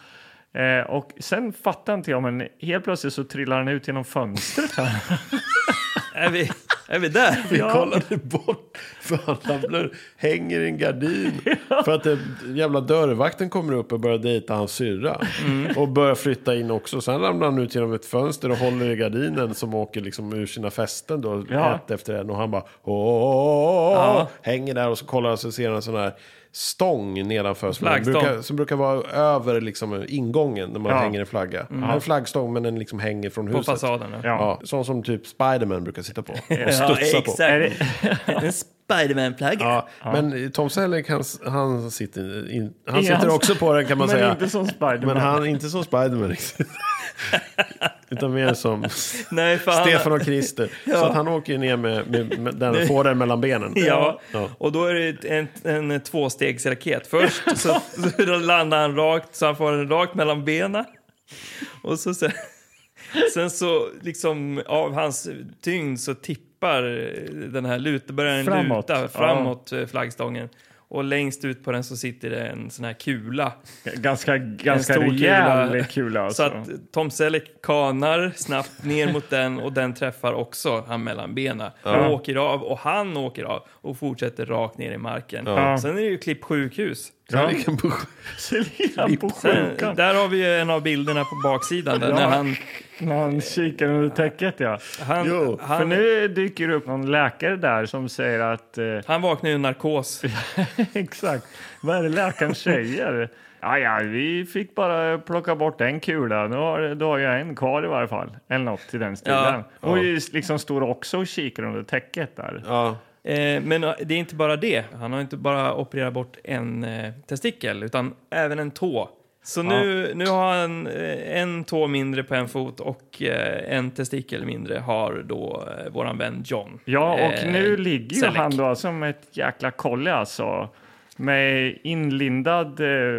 Speaker 2: Eh, Och sen fattar inte jag, men helt plötsligt så trillar han ut genom fönstret. Här.
Speaker 3: är, vi, är vi där?
Speaker 1: Vi kollade bort för han ramlar, hänger i en gardin. För att det, jävla dörrvakten kommer upp och börjar dejta hans syrra.
Speaker 3: Mm.
Speaker 1: Och börjar flytta in också. Sen ramlar han ut genom ett fönster och håller i gardinen som åker liksom ur sina fästen då.
Speaker 2: Ja.
Speaker 1: Ett efter en. Och han bara åh, åh, åh,
Speaker 3: Ja.
Speaker 1: hänger där och så kollar han så ser han en sån här stång nedanför. Som
Speaker 3: Flaggstång.
Speaker 1: brukar, som brukar vara över liksom ingången när man
Speaker 2: Ja.
Speaker 1: hänger en flagga. En flaggstång men den liksom hänger från
Speaker 3: Mm. På
Speaker 1: huset.
Speaker 3: fasaden. Ja.
Speaker 1: Ja, sån som typ Spiderman brukar sitta på och studsa
Speaker 3: Ja,
Speaker 1: på.
Speaker 2: Är det,
Speaker 3: exakt. En Spiderman-plagga.
Speaker 1: Ja, men Tom Selleck, han, han sitter, in, han
Speaker 2: Ja,
Speaker 1: sitter
Speaker 2: han-
Speaker 1: också på den kan man
Speaker 2: men
Speaker 1: säga.
Speaker 2: inte som Spiderman.
Speaker 1: Men han är inte som Spiderman riktigt. Utan mer som
Speaker 3: Nej, för han-
Speaker 1: Stefan och Christer. Så att han åker ju ner med, med, med den, får den mellan benen.
Speaker 3: Ja,
Speaker 1: Ja.
Speaker 3: och då är det en, en tvåstegsraket. Först så, så då landar han rakt, så han får den rakt mellan benen. Och så sen, sen så liksom av hans tyngd så tippar den här lut, börjar den
Speaker 2: Framåt.
Speaker 3: luta framåt eh, flaggstången. Och längst ut på den så sitter det en sån här kula.
Speaker 2: ganska ganska
Speaker 3: stor
Speaker 2: rejäl
Speaker 3: kula.
Speaker 2: kula. alltså.
Speaker 3: Så att Tom Selleck kanar snabbt ner mot den och den träffar också han mellan benen. Och åker av och han åker av och fortsätter rakt ner i marken. Sen är det ju klipp sjukhus.
Speaker 1: Han ligger på sj-
Speaker 2: Selina på
Speaker 3: Sen,
Speaker 2: sjukan.
Speaker 3: där har vi ju en av bilderna på baksidan. Där,
Speaker 2: Ja.
Speaker 3: när han,
Speaker 2: När han kikar under täcket, ja.
Speaker 3: han,
Speaker 1: Jo,
Speaker 3: han,
Speaker 2: För nu dyker det upp någon läkare där som säger att... Eh,
Speaker 3: han vaknar ju i narkos.
Speaker 2: exakt. Vad är det läkaren säger? Ja, ja, vi fick bara plocka bort en kula. Nu har, då har jag en kvar i varje fall. Eller något till den stilen.
Speaker 3: Ja.
Speaker 2: Hon ju liksom står också och kikar under täcket där.
Speaker 1: Ja.
Speaker 3: Eh, men det är inte bara det. Han har inte bara opererat bort en eh, testikel, utan även en tå. Så nu, nu har han eh, en tå mindre på en fot och eh, en testikel mindre har då eh, våran vän John.
Speaker 2: Ja, och
Speaker 3: Eh,
Speaker 2: nu ligger ju
Speaker 3: Selleck.
Speaker 2: han då som ett jäkla kolle alltså. Med inlindad eh,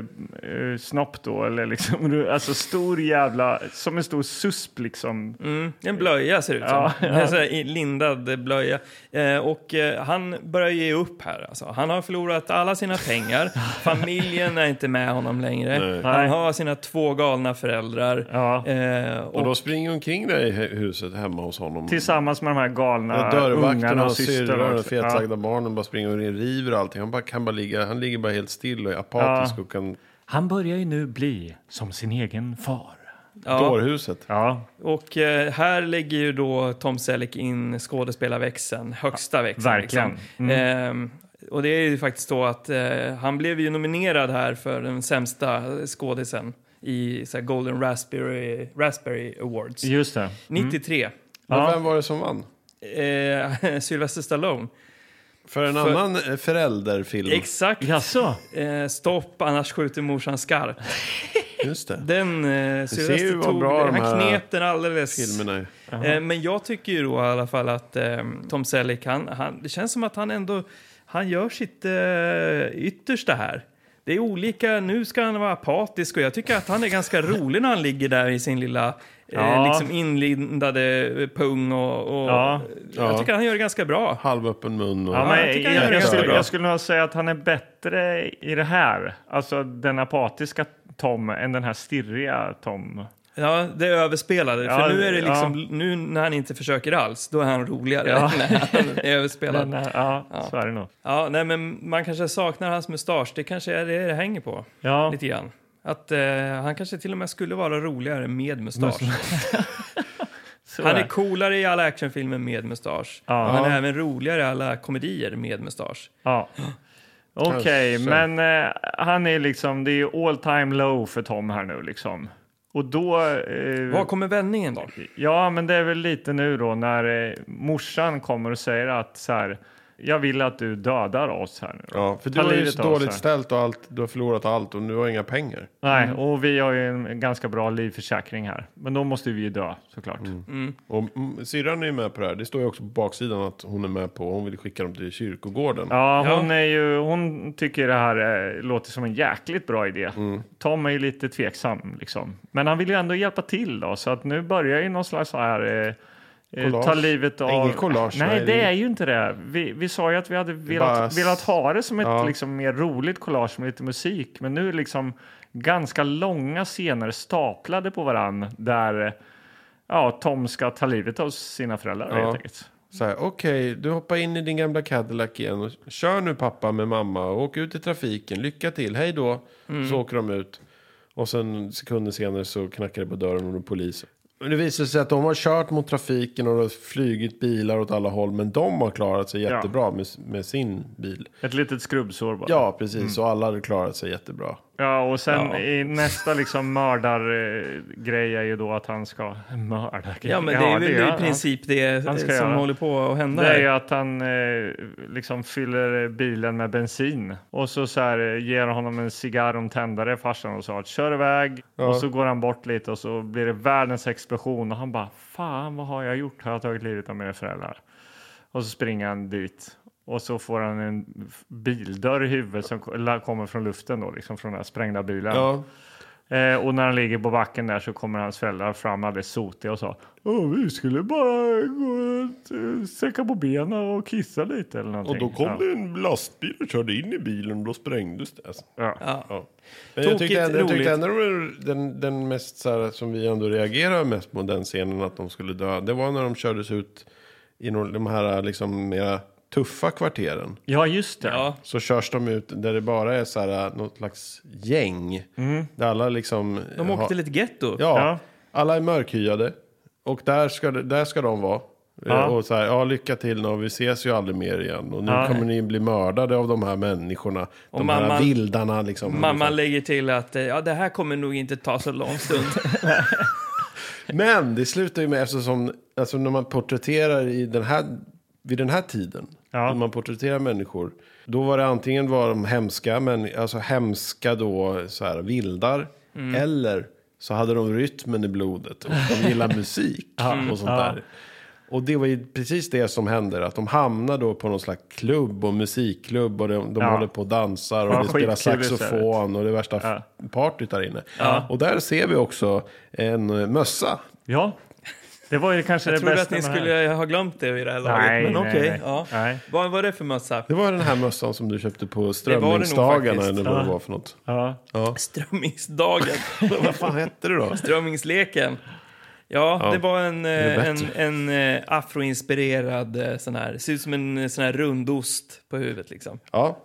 Speaker 2: eh, snopp då, eller liksom, alltså stor jävla, som en stor susp liksom.
Speaker 3: Mm, en blöja ser det ut som.
Speaker 2: Ja, ja.
Speaker 3: En sån här lindad blöja. Eh, och eh, han börjar ge upp här. Alltså. Han har förlorat alla sina pengar. Familjen är inte med honom längre. Han
Speaker 2: Nej.
Speaker 3: har sina två galna föräldrar.
Speaker 2: Ja.
Speaker 3: Eh,
Speaker 1: Och
Speaker 3: och,
Speaker 1: de springer omkring där i hu- huset hemma hos honom.
Speaker 2: Tillsammans med de här galna
Speaker 1: Ja,
Speaker 2: äh, ungarna
Speaker 1: Dörrvakterna,
Speaker 2: och systrarna.
Speaker 1: syrrorna,
Speaker 2: också.
Speaker 1: fetsagda
Speaker 2: Ja.
Speaker 1: barnen bara springer och river allting. Han, bara, kan bara ligga, han ligger bara helt still och är apatisk och kan...
Speaker 2: Han börjar ju nu bli som sin egen far.
Speaker 3: ja,
Speaker 1: Dårhuset.
Speaker 2: Ja,
Speaker 3: och eh, här lägger ju då Tom Selleck in skådespelarväxeln, högsta växeln.
Speaker 2: verkligen.
Speaker 3: Liksom. Eh, och det är ju faktiskt så att eh, han blev ju nominerad här för den sämsta skådisen i så här, Golden Raspberry, Raspberry Awards.
Speaker 2: just det.
Speaker 3: 93.
Speaker 1: Men
Speaker 2: Ja.
Speaker 1: vem var det som vann?
Speaker 3: Eh, Sylvester Stallone.
Speaker 1: Mm. För en annan eh, förälderfilm.
Speaker 3: Exakt.
Speaker 2: Jaså?
Speaker 3: Eh, stopp, annars skjuter morsan skarpt.
Speaker 1: Just det.
Speaker 3: Den eh,
Speaker 1: ser ju
Speaker 3: Sylvester
Speaker 1: vad
Speaker 3: tog,
Speaker 1: bra de
Speaker 3: han
Speaker 1: här
Speaker 3: knep den alldeles.
Speaker 1: Filmerna. är-
Speaker 3: Eh, men jag tycker ju då i alla fall att eh, Tom Selleck, han, han, det känns som att han ändå, han gör sitt eh, yttersta här. Det är olika, nu ska han vara apatisk och jag tycker att han är ganska rolig när han ligger där i sin lilla eh,
Speaker 2: Ja.
Speaker 3: liksom inlindade eh, pung och, och eh,
Speaker 2: Ja.
Speaker 1: Ja.
Speaker 3: jag tycker han gör det ganska bra.
Speaker 1: Halvöppen mun och...
Speaker 2: Ja, men
Speaker 3: jag
Speaker 2: jag,
Speaker 3: tycker han gör
Speaker 2: jag,
Speaker 3: det
Speaker 2: skulle,
Speaker 3: ganska bra.
Speaker 2: jag skulle nog säga att han är bättre i det här, alltså den apatiska Tom, än den här stirriga Tom.
Speaker 3: Ja, det är överspelade.
Speaker 2: Ja,
Speaker 3: för nu är det
Speaker 2: ja.
Speaker 3: liksom, nu när han inte försöker alls, då är han roligare
Speaker 2: Ja.
Speaker 3: när han är överspelad.
Speaker 2: Den här, eh, ja, så är det nog.
Speaker 3: Ja, nej, men man kanske saknar hans mustasch. Det kanske är det det hänger på
Speaker 2: Ja,
Speaker 3: lite grann. Att eh, han kanske till och med skulle vara roligare med mustasch.
Speaker 2: så
Speaker 3: Han
Speaker 2: det.
Speaker 3: är coolare i alla actionfilmer med mustasch.
Speaker 2: Ja. Mm.
Speaker 3: Han är även roligare i alla komedier med mustasch.
Speaker 2: Ja. Okej,
Speaker 1: Kanske.
Speaker 2: men eh, han är liksom, det är ju all time low för Tom här nu liksom. Och då... eh,
Speaker 3: Var kommer vändningen då?
Speaker 2: Ja, men det är väl lite nu då när eh, morsan kommer och säger att så här, jag vill att du dödar oss här nu. då.
Speaker 1: Ja, för du
Speaker 2: Ta
Speaker 1: har ju
Speaker 2: livet
Speaker 1: så
Speaker 2: av
Speaker 1: dåligt
Speaker 2: sig.
Speaker 1: ställt och allt, du har förlorat allt och nu har jag inga pengar.
Speaker 2: Nej, och vi har ju en ganska bra livförsäkring här. Men då måste vi ju dö såklart.
Speaker 1: Och mm, syrran är ju med på det här. Det står ju också på baksidan att hon är med på. Hon vill skicka dem till kyrkogården.
Speaker 2: Ja, hon, Är ju, hon tycker det här eh, låter som en jäkligt bra idé.
Speaker 1: Mm.
Speaker 2: Tom är ju lite tveksam liksom. Men han vill ju ändå hjälpa till då. Så att nu börjar ju någon slags så här... eh, eh,
Speaker 1: Collage.
Speaker 2: Ta livet av...
Speaker 1: Inget collage,
Speaker 2: nej,
Speaker 1: nej,
Speaker 2: det
Speaker 1: det-
Speaker 2: är ju inte det. Vi, vi sa ju att vi hade velat,
Speaker 1: Bara s-
Speaker 2: velat ha det som ett
Speaker 1: Ja.
Speaker 2: liksom, mer roligt collage med lite musik. Men nu är det liksom ganska långa scener staplade på varann där eh, ja, Tom ska ta livet av sina föräldrar
Speaker 1: Ja.
Speaker 2: helt enkelt.
Speaker 1: Så här, okej, du hoppar in i din gamla Cadillac igen och kör nu pappa med mamma och åk ut i trafiken. Lycka till, hej då. Så åker de ut. Och sen sekunder senare så knackar det på dörren och det är polis. Men det visar sig att de har kört mot trafiken och det har flugit bilar åt alla håll. Men de har klarat sig
Speaker 2: Ja.
Speaker 1: jättebra med, med sin bil.
Speaker 2: Ett litet skrubbsår bara.
Speaker 1: Ja, precis. Och alla hade klarat sig jättebra.
Speaker 2: Ja, och sen
Speaker 3: Ja.
Speaker 2: i nästa liksom mördargrej är ju då att han ska mörda.
Speaker 3: Ja, men det är väl
Speaker 2: gör
Speaker 3: i
Speaker 2: han.
Speaker 3: princip det eh,
Speaker 2: Han
Speaker 3: som
Speaker 2: ska göra.
Speaker 3: håller på att hända.
Speaker 2: Det är
Speaker 3: här.
Speaker 2: ju att han eh, liksom fyller bilen med bensin och så, så här, eh, ger honom en cigarr om tändare farsan och sa att kör iväg och så går han bort lite och så blir det världens explosion och han bara fan vad har jag gjort? Har jag tagit livet av mina föräldrar? Och så springer han dit och så får han en f- bildörr i huvudet som ko- la- kommer från luften då, liksom från den här sprängda bilen.
Speaker 1: Ja,
Speaker 2: Eh, och när han ligger på backen där så kommer hans föräldrar fram alldeles sotiga och sa Åh, vi skulle bara gå och eh, sträcka på benen och kissa lite eller någonting. ja.
Speaker 1: en lastbil och körde in i bilen och då sprängdes det. Alltså.
Speaker 2: Ja.
Speaker 3: Ja.
Speaker 1: Ja. Men jag tyckte,
Speaker 3: Tokigt,
Speaker 1: ändå, jag tyckte
Speaker 3: roligt.
Speaker 1: ändå den, den mest så här, som vi ändå reagerar mest på den scenen att de skulle dö. Det var när de kördes ut i någon- de här liksom mera tuffa kvarteren
Speaker 2: Ja, just det.
Speaker 3: Ja,
Speaker 1: så körs de ut där det bara är så här, äh, något slags gäng. Där alla liksom...
Speaker 3: de åker till ett getto.
Speaker 1: Ja,
Speaker 2: Ja.
Speaker 1: alla är mörkhyade. Och där ska, det- där ska de vara. Eh,
Speaker 2: Ja.
Speaker 1: Och så här, ja lycka till nu, vi ses ju aldrig mer igen. Och nu
Speaker 2: Ja.
Speaker 1: kommer ni bli mördade av de här människorna. de här
Speaker 3: mamman-
Speaker 1: vildarna liksom.
Speaker 3: Mamma lägger till att eh, ja, det här kommer nog inte ta så lång stund.
Speaker 1: Men det slutar ju med, eftersom alltså, när man porträtterar i den här, vid den här tiden.
Speaker 2: Ja.
Speaker 1: När man porträtterar människor. Då var det antingen var de hemska, men, alltså hemska då så här vildar.
Speaker 2: Mm.
Speaker 1: Eller så hade de rytmen i blodet och de gillar musik och sånt där. Och det var ju precis det som händer, att de hamnar då på någon slags klubb och musikklubb och de, de
Speaker 2: Ja.
Speaker 1: håller på och dansar och
Speaker 2: Ja,
Speaker 1: det spelar
Speaker 2: skitkul istället.
Speaker 1: saxofon fan och det värsta
Speaker 2: Ja.
Speaker 1: f- partyt där inne. Och där ser vi också en eh, mössa.
Speaker 2: Ja. Det var ju kanske
Speaker 3: Jag
Speaker 2: det
Speaker 3: trodde
Speaker 2: bästa
Speaker 3: att ni
Speaker 2: med det här.
Speaker 3: skulle ha glömt det vid det här laget.
Speaker 2: Nej,
Speaker 3: men
Speaker 2: nej,
Speaker 3: okej.
Speaker 2: nej.
Speaker 3: ja.
Speaker 2: Nej.
Speaker 3: Vad var det för mössa?
Speaker 1: Det var den här mössan som du köpte på
Speaker 3: nog
Speaker 1: strömmingsdagarna
Speaker 3: faktiskt.
Speaker 1: eller vad det
Speaker 2: Ja.
Speaker 1: var för något.
Speaker 2: Ja.
Speaker 3: Strömmingsdagen.
Speaker 1: vad fan hette det då?
Speaker 3: Strömmingsleken. Ja,
Speaker 1: Ja,
Speaker 3: det var en, eh,
Speaker 1: är
Speaker 3: en,
Speaker 1: bättre.
Speaker 3: en eh, afroinspirerad eh, sån här. Ser ut som en eh, sån här rundost på huvudet liksom.
Speaker 1: Ja.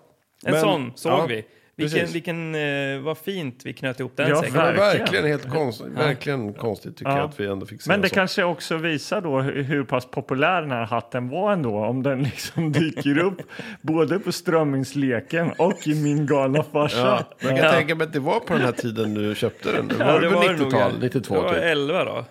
Speaker 3: En
Speaker 1: Men-
Speaker 3: sån såg
Speaker 1: ja,
Speaker 3: vi. Vilken,
Speaker 1: precis.
Speaker 3: vilken eh, vad fint vi knöt ihop den
Speaker 2: Ja,
Speaker 1: Det
Speaker 3: säcken.
Speaker 1: var
Speaker 2: verkligen.
Speaker 1: verkligen helt konst, verkligen konstigt tycker
Speaker 2: Ja.
Speaker 1: jag att vi ändå fick se
Speaker 2: Men
Speaker 1: en
Speaker 2: det
Speaker 1: sån.
Speaker 2: kanske också visar då hur, hur pass populär den här hatten var ändå. Om den liksom dyker upp både på strömmingsleken och i min galna farsa.
Speaker 1: Ja. Men jag kan tänka mig att det var på den här tiden du köpte den.
Speaker 3: Ja,
Speaker 1: var det, på
Speaker 3: det nog,
Speaker 1: 90-tal?
Speaker 3: ja.
Speaker 1: 92
Speaker 3: Det var
Speaker 1: typ.
Speaker 3: 11 då.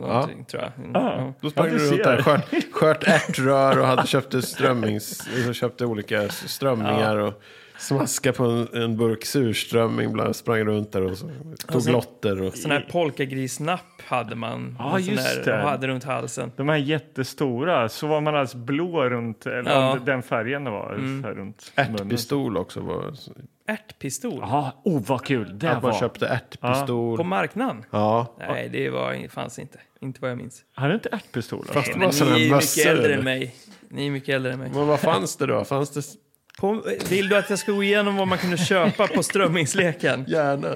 Speaker 3: Någonting, tror jag. Mm, ja.
Speaker 1: Då sprang
Speaker 2: Ja,
Speaker 1: du
Speaker 2: du
Speaker 1: runt
Speaker 2: ser.
Speaker 1: där, skört, skört ärtrör och hade, köpte, strömmings, alltså köpte olika strömmingar och smaskade på en, en burk surströmming. Bland, sprang runt där och så, tog
Speaker 3: sen-
Speaker 1: lotter. Och,
Speaker 3: Alltså, Sån här polkagrisnapp hade man.
Speaker 2: Ja,
Speaker 3: En sån
Speaker 2: just
Speaker 3: här,
Speaker 2: det.
Speaker 3: Och hade runt halsen.
Speaker 2: De här jättestora, så var man alltså blå runt, eller
Speaker 3: Ja.
Speaker 2: om det- den färgen det var. Så här runt munnen.
Speaker 1: ärtpistol också. Var,
Speaker 3: Ärtpistol.
Speaker 2: Ja, oh vad kul det
Speaker 1: att man
Speaker 2: var.
Speaker 1: köpte ärtpistol.
Speaker 3: På
Speaker 1: Ja.
Speaker 3: marknaden? Nej, det var, fanns inte. Inte vad jag minns.
Speaker 2: Hade du inte ärtpistol?
Speaker 1: Fast det var
Speaker 3: Ni
Speaker 1: sådana
Speaker 3: är mycket
Speaker 1: mössor.
Speaker 3: äldre
Speaker 1: eller?
Speaker 3: än mig. Ni är mycket äldre än mig.
Speaker 1: Men vad fanns det då? Fanns det
Speaker 3: På, vill du att jag ska gå igenom vad man kunde köpa på strömmingsleken?
Speaker 1: gärna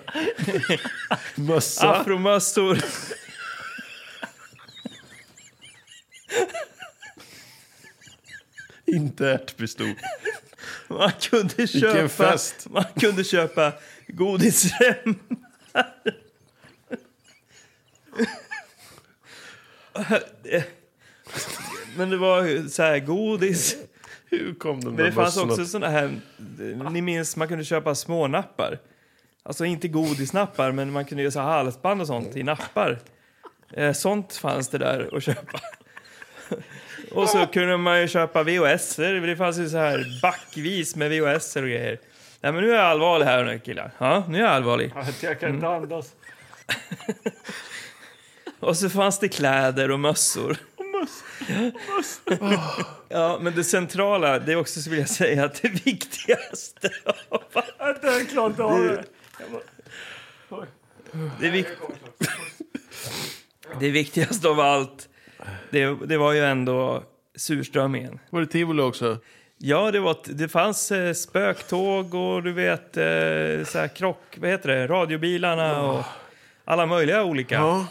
Speaker 1: mössa?
Speaker 3: Afromössor.
Speaker 1: Inte ärtpistol.
Speaker 3: Man kunde
Speaker 1: Vilken
Speaker 3: köpa,
Speaker 1: fest.
Speaker 3: man kunde köpa godisrem. Men det var så här godis.
Speaker 1: Hur kom de
Speaker 3: Men
Speaker 1: där
Speaker 3: det fanns
Speaker 1: mössorna?
Speaker 3: också såna här, ni minns man kunde köpa smånappar. Alltså inte godisnappar, men man kunde göra så här halsband och sånt i nappar. Eh, sånt fanns det där att köpa. och så kunde man ju köpa VHS. Det fanns ju så här backvis med VHS och grejer. Nej men nu är jag allvarlig här nu killar. Ja, nu är jag allvarlig.
Speaker 2: Jag kan inte andas.
Speaker 3: Och så fanns det kläder och mössor. Ja, men det centrala, det är också så vill jag säga att det viktigaste av allt.
Speaker 2: Jag klarar inte av det.
Speaker 3: Det, vik- det viktigaste av allt, det, det var ju ändå surströmmingen.
Speaker 1: Var det tivoli också?
Speaker 3: Ja, det, var, ett- det fanns eh, spöktåg och du vet, eh, så här krock, vad heter det, radiobilarna och alla möjliga olika.
Speaker 1: Ja.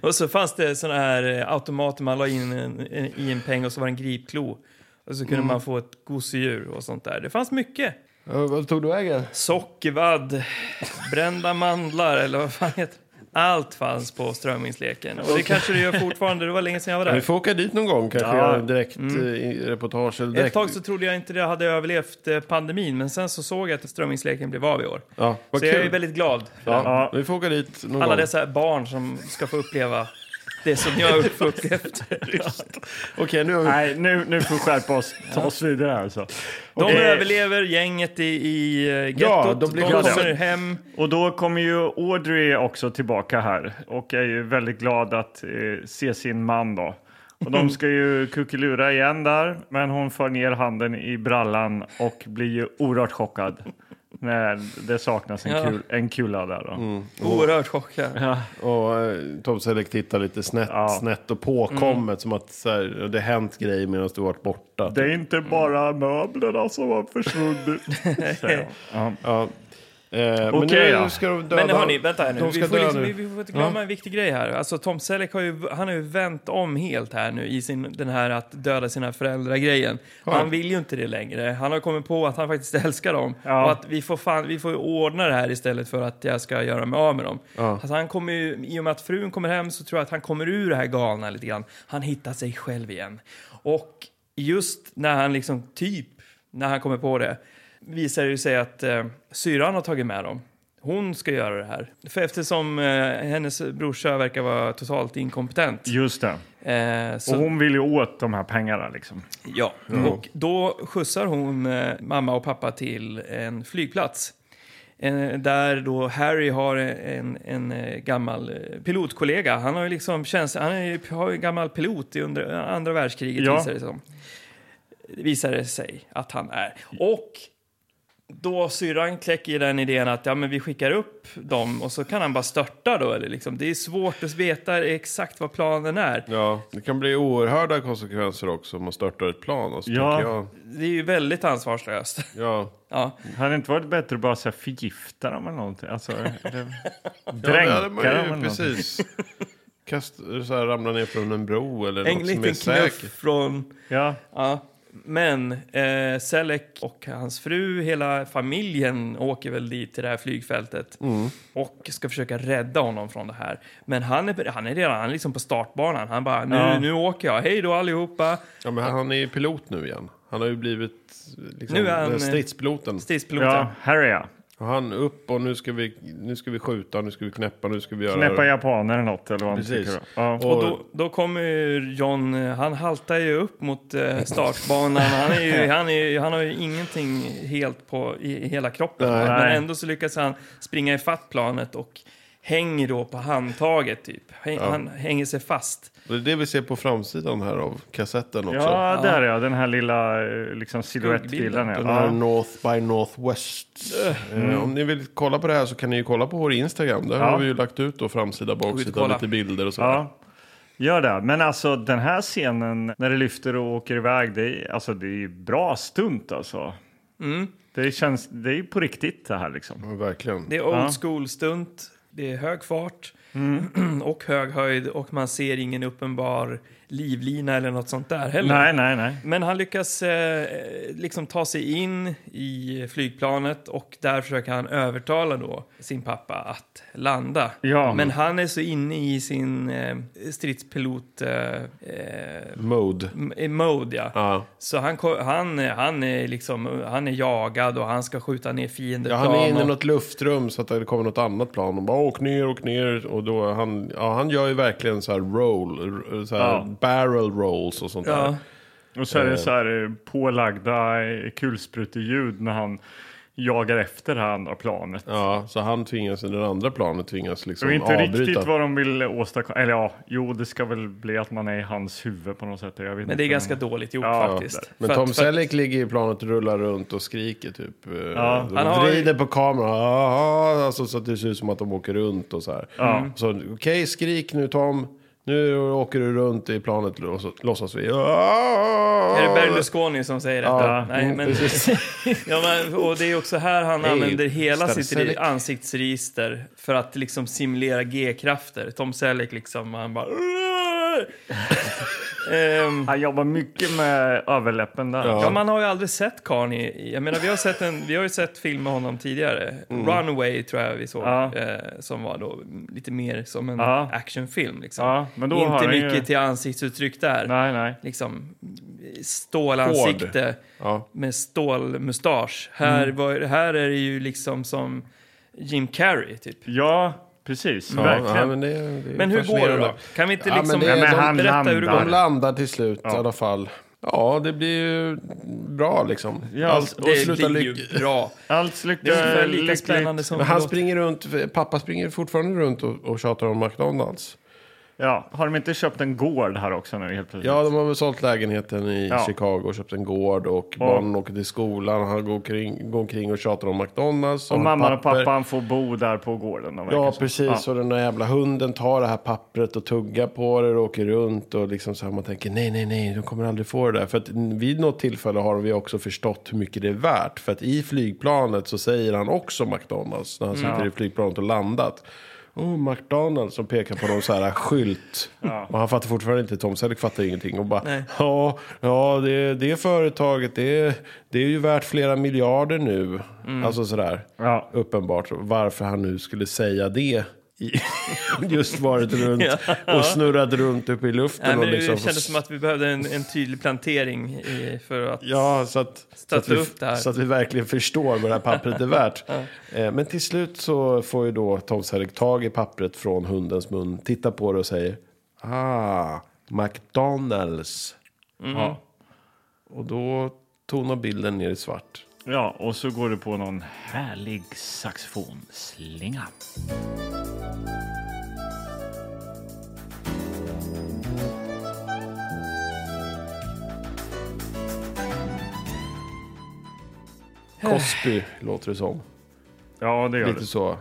Speaker 3: Och så fanns det såna här eh, automater man la in en, en, i en peng och så var det en gripklo. Och så kunde man få ett gosedjur och sånt där. Det fanns mycket.
Speaker 1: Ja, Vad tog du vägen?
Speaker 3: Sockervadd, brända mandlar eller vad fan heter det? Allt fanns på strömmingsleken. Och det kanske det gör fortfarande, det var länge sedan jag var
Speaker 1: Vi
Speaker 3: där.
Speaker 1: får åka dit någon gång, kanske
Speaker 2: Ja.
Speaker 1: göra direkt eh, i- reportage. Eller direkt.
Speaker 3: Mm. Ett tag så trodde jag inte det hade överlevt eh, pandemin, men sen så såg jag att strömmingsleken blev av i år.
Speaker 1: Ja, vad
Speaker 3: Så
Speaker 1: kul.
Speaker 3: jag är väldigt glad.
Speaker 1: Ja,
Speaker 2: Ja.
Speaker 1: Vi får åka dit någon
Speaker 3: Alla
Speaker 1: gång.
Speaker 3: dessa barn som ska få uppleva det som jag har fått upplevt.
Speaker 1: Okej, nu har vi...
Speaker 2: Nej, nu, nu får vi skärpa oss. Ta oss vidare alltså.
Speaker 3: De
Speaker 2: Okej.
Speaker 3: överlever gänget i, i eh, gettot.
Speaker 1: Ja,
Speaker 3: de,
Speaker 1: de blir glada.
Speaker 3: kommer hem.
Speaker 2: Och då kommer ju Audrey också tillbaka här och är ju väldigt glad att eh, se sin man då. Och de ska ju kuckelura igen där, men hon för ner handen i brallan och blir ju oerhört chockad när det saknas en,
Speaker 3: Ja.
Speaker 2: kul, en kula där då.
Speaker 1: Mm. Oh.
Speaker 3: Oerhört chockad.
Speaker 1: Och eh, Tom Selleck tittar lite snett,
Speaker 2: Ja.
Speaker 1: snett och påkommet.
Speaker 3: Mm.
Speaker 1: Som att så här, det hänt grejer medan du varit borta. Eh,
Speaker 2: Det är inte bara möblerna som har försvunnit. säger hon.
Speaker 1: Ja. Eh, men
Speaker 2: Okej,
Speaker 1: nu
Speaker 2: ja.
Speaker 1: ska de döda...
Speaker 3: Men hörni, vänta här nu.
Speaker 1: De ska
Speaker 3: Vi får,
Speaker 1: dö
Speaker 3: liksom,
Speaker 1: nu.
Speaker 3: vi, vi får inte glömma en viktig grej här. Alltså Tom Selleck har ju, han har ju vänt om helt här nu i sin, den här att döda sina föräldrar-grejen. Han vill ju inte det längre. Han har kommit på att han faktiskt älskar dem.
Speaker 2: Ja.
Speaker 3: Och att vi får, fan, vi får ju ordna det här istället för att jag ska göra mig av med dem. Alltså han kommer ju, I och med att frun kommer hem så tror jag att han kommer ur det här galna lite grann. Han hittar sig själv igen. Och just när han liksom typ, när han kommer på det, visar det ju sig att eh, syran har tagit med dem. Hon ska göra det här. För eftersom eh, hennes brorsa verkar vara totalt inkompetent.
Speaker 2: Just det.
Speaker 3: Eh, så,
Speaker 2: Och hon vill ju åt de här pengarna liksom.
Speaker 3: ja. Och då skjutsar hon eh, mamma och pappa till en flygplats. Eh, där då Harry har en, en eh, gammal eh, pilotkollega. Han har ju liksom tjänst, han är, ju- har ju en gammal pilot i under, andra världskriget
Speaker 2: Ja.
Speaker 3: visar det sig som. Visar det sig att han är. Och då syrran kläcker ju den idén att ja, men vi skickar upp dem och så kan han bara störta då. Eller liksom. Det är svårt att veta exakt vad planen är.
Speaker 1: Ja, det kan bli oerhörda konsekvenser också om man störtar ett plan. Och så
Speaker 2: Ja.
Speaker 1: tänker jag,
Speaker 3: Det är ju väldigt ansvarslöst.
Speaker 1: ja.
Speaker 3: Ja.
Speaker 2: Hade det inte varit bättre att bara så här, förgifta dem eller någonting? Alltså, eller,
Speaker 1: Ja, det
Speaker 2: dränka
Speaker 1: hade
Speaker 2: dem
Speaker 1: man
Speaker 2: eller
Speaker 1: ju
Speaker 2: någonting.
Speaker 1: precis. Kast, så här, ramla ner från en bro eller
Speaker 3: En
Speaker 1: något som är
Speaker 3: liten knuff
Speaker 1: säkert.
Speaker 3: från...
Speaker 2: Ja,
Speaker 3: Ja. Men eh, Selleck och hans fru, hela familjen åker väl dit till det här flygfältet
Speaker 2: Mm.
Speaker 3: och ska försöka rädda honom från det här. Men han är, han är redan han är liksom på startbanan. Han bara, nu,
Speaker 2: Ja.
Speaker 3: nu åker jag, hej då allihopa.
Speaker 1: Ja, men han är ju pilot nu igen. Han har ju blivit liksom,
Speaker 3: Nu är han,
Speaker 1: den
Speaker 3: eh,
Speaker 1: stridspiloten.
Speaker 3: Stridspiloten.
Speaker 2: ja, här är jag.
Speaker 1: Och han upp och nu ska, vi, nu ska vi skjuta, nu ska vi knäppa, nu ska vi göra...
Speaker 2: Knäppa japaner eller något eller vad man
Speaker 1: Precis.
Speaker 2: tycker. Ja.
Speaker 1: Och-
Speaker 3: Och då, då kommer ju John, eh, han haltar ju upp mot eh, startbanan. Han, är ju, han, är, ju- han har ju ingenting helt på i, i hela kroppen.
Speaker 1: Nej.
Speaker 3: Men
Speaker 2: Nej.
Speaker 3: ändå så lyckas han springa i fatt planet och hänger då på handtaget typ. Häng, Han hänger sig fast.
Speaker 1: Det är det vi ser på framsidan här av kassetten också.
Speaker 2: Ja, där är jag. Den här lilla eh, liksom,
Speaker 3: Skuggbilden.
Speaker 2: siluettbilden.
Speaker 1: Den här
Speaker 2: Ja.
Speaker 1: North by Northwest. Eh, om ni vill kolla på det här så kan ni ju kolla på vår Instagram. Där
Speaker 2: Ja.
Speaker 1: har vi ju lagt ut då framsida, baksida,
Speaker 3: kolla.
Speaker 1: lite bilder och så.
Speaker 2: Ja. Gör det. Men alltså den här scenen när det lyfter och åker iväg, det är, alltså, det är ju bra stunt alltså.
Speaker 1: Mm.
Speaker 2: Det känns, det är ju på riktigt det här liksom.
Speaker 1: Ja, verkligen.
Speaker 3: Det är old school stunt, det är hög fart och hög höjd och man ser ingen uppenbar livlina eller något sånt där heller.
Speaker 2: Nej, nej, nej.
Speaker 3: Men han lyckas eh, liksom ta sig in i flygplanet och där försöker han övertala då sin pappa att landa.
Speaker 2: Ja.
Speaker 3: Men han är så inne i sin eh, stridspilot eh, eh,
Speaker 1: Mode.
Speaker 3: m- mode ja.
Speaker 1: Ja.
Speaker 3: Så han, ko- han, han, är liksom, han är jagad och han ska skjuta ner
Speaker 1: Ja,
Speaker 3: fiendeplan.
Speaker 1: han är inne i
Speaker 3: och-
Speaker 1: något luftrum så att det kommer något annat plan. Och bara åk ner, åk ner. Och då är han, ja, han gör ju verkligen så här roll, r- så här
Speaker 2: Ja.
Speaker 1: barrel rolls och sånt
Speaker 3: ja.
Speaker 1: där.
Speaker 2: Och så är det så här eh, pålagda eh, kulspruteljud när han jagar efter det här andra planet.
Speaker 1: Ja, så han tvingas, den andra planet tvingas
Speaker 2: Det
Speaker 1: liksom
Speaker 2: är inte
Speaker 1: avbryta.
Speaker 2: riktigt vad de vill åstadkomma. Eller ja, jo, det ska väl bli att man är i hans huvud på något sätt. Jag vet
Speaker 3: Men det är
Speaker 2: inte.
Speaker 3: ganska dåligt gjort
Speaker 2: Ja,
Speaker 3: faktiskt.
Speaker 2: där.
Speaker 1: Men
Speaker 3: För att-
Speaker 1: Tom
Speaker 3: för att-
Speaker 1: Selleck ligger i planet och rullar runt och skriker typ. eh, de
Speaker 3: Han har ju-
Speaker 1: vrider på kameran. "Ah, ah", Alltså, så att det ser ut som att de åker runt och så här. Så okej, skrik nu Tom. Nu åker du runt i planet och så låtsas vi.
Speaker 3: Är det
Speaker 1: Är
Speaker 3: Berlusconi som säger detta?
Speaker 1: Ja.
Speaker 3: Nej, men, ja, men, och det är också här han använder hela
Speaker 1: Mr.
Speaker 3: sitt
Speaker 1: Selleck.
Speaker 3: re- ansiktsregister för att liksom simulera G-krafter. Tom Selleck liksom, han bara... Ehm,
Speaker 2: Han jobbar mycket med överläppen där.
Speaker 3: ja, man har ju aldrig sett karln i... i- Jag menar, vi har, sett en, vi har ju sett film med honom tidigare. Runaway tror jag vi såg,
Speaker 2: Mm. Ja.
Speaker 3: eh, som var då lite mer som en
Speaker 2: Ja.
Speaker 3: actionfilm. Liksom.
Speaker 2: Ja, men då har
Speaker 3: Inte
Speaker 2: han
Speaker 3: mycket
Speaker 2: ju...
Speaker 3: till ansiktsuttryck där.
Speaker 2: Nej, nej.
Speaker 3: liksom stålansikte
Speaker 1: Ja. Mm.
Speaker 3: med stålmustasch. Här, var, här är det ju liksom som Jim Carrey, typ.
Speaker 2: Ja, precis.
Speaker 1: Ja,
Speaker 2: verkligen.
Speaker 1: ja, men, det, det är
Speaker 3: Men hur går det då?
Speaker 1: fascinerande.
Speaker 3: Kan vi inte
Speaker 1: Ja, men
Speaker 3: liksom
Speaker 1: det är- Ja, men
Speaker 2: han
Speaker 3: berätta hur det
Speaker 1: De
Speaker 2: landar.
Speaker 3: går?
Speaker 1: landar till slut i alla fall. Ja, det blir ju bra liksom.
Speaker 2: Ja,
Speaker 1: Allt- och
Speaker 3: alltså, Det
Speaker 1: slutar
Speaker 3: blir
Speaker 1: lyck-
Speaker 3: ju bra.
Speaker 2: Allt lyck-
Speaker 3: Det är ungefär lika
Speaker 2: lyckligt.
Speaker 3: spännande som...
Speaker 1: Men han
Speaker 3: förlåt.
Speaker 1: springer runt, pappa springer fortfarande runt och, och tjatar om McDonalds.
Speaker 2: Ja, har de inte köpt en gård här också nu helt plötsligt?
Speaker 1: Ja, de har väl sålt lägenheten i
Speaker 2: Ja.
Speaker 1: Chicago och köpt en gård. Och barnen åker till skolan. Han går omkring går omkring och tjatar om McDonalds.
Speaker 2: och
Speaker 1: har
Speaker 2: mamman och
Speaker 1: papper.
Speaker 2: pappan får bo där på gården. då, verkar
Speaker 1: Ja,
Speaker 2: det som.
Speaker 1: precis. Och den där jävla hunden tar det här pappret och tuggar på det och åker runt. Och liksom så här, man tänker nej, nej, nej, de kommer aldrig få det där. För att vid något tillfälle har vi också förstått hur mycket det är värt. För att i flygplanet så säger han också McDonalds när han sitter i flygplanet och landat. Oh, McDonalds som pekar på någon så här skylt. Och han fattar fortfarande inte, Tom Selleck fattar ju ingenting. Och bara,
Speaker 3: Nej.
Speaker 1: ja, ja det, det företaget, det, det är ju värt flera miljarder nu. Alltså sådär
Speaker 2: Ja.
Speaker 1: uppenbart varför han nu skulle säga det. i- Just varit runt och snurrat runt uppe i luften.
Speaker 3: Nej, men
Speaker 1: och
Speaker 3: det
Speaker 1: liksom,
Speaker 3: kändes som att vi behövde en, en tydlig plantering i, för att...
Speaker 1: Ja, så att, så,
Speaker 3: Stötta
Speaker 1: att vi,
Speaker 3: upp det här.
Speaker 1: så att vi verkligen förstår vad det här pappret är värt. Eh, Men till slut så får ju då Tom Selleck tag i pappret från hundens mun, tittar på det och säger Ah, McDonalds.
Speaker 3: Mm.
Speaker 1: Ja. Och då tonar bilden ner i svart.
Speaker 2: Ja, och så går det på någon härlig saxofonslinga.
Speaker 1: Cosby låter det som.
Speaker 2: Ja, det gör
Speaker 1: Lite så.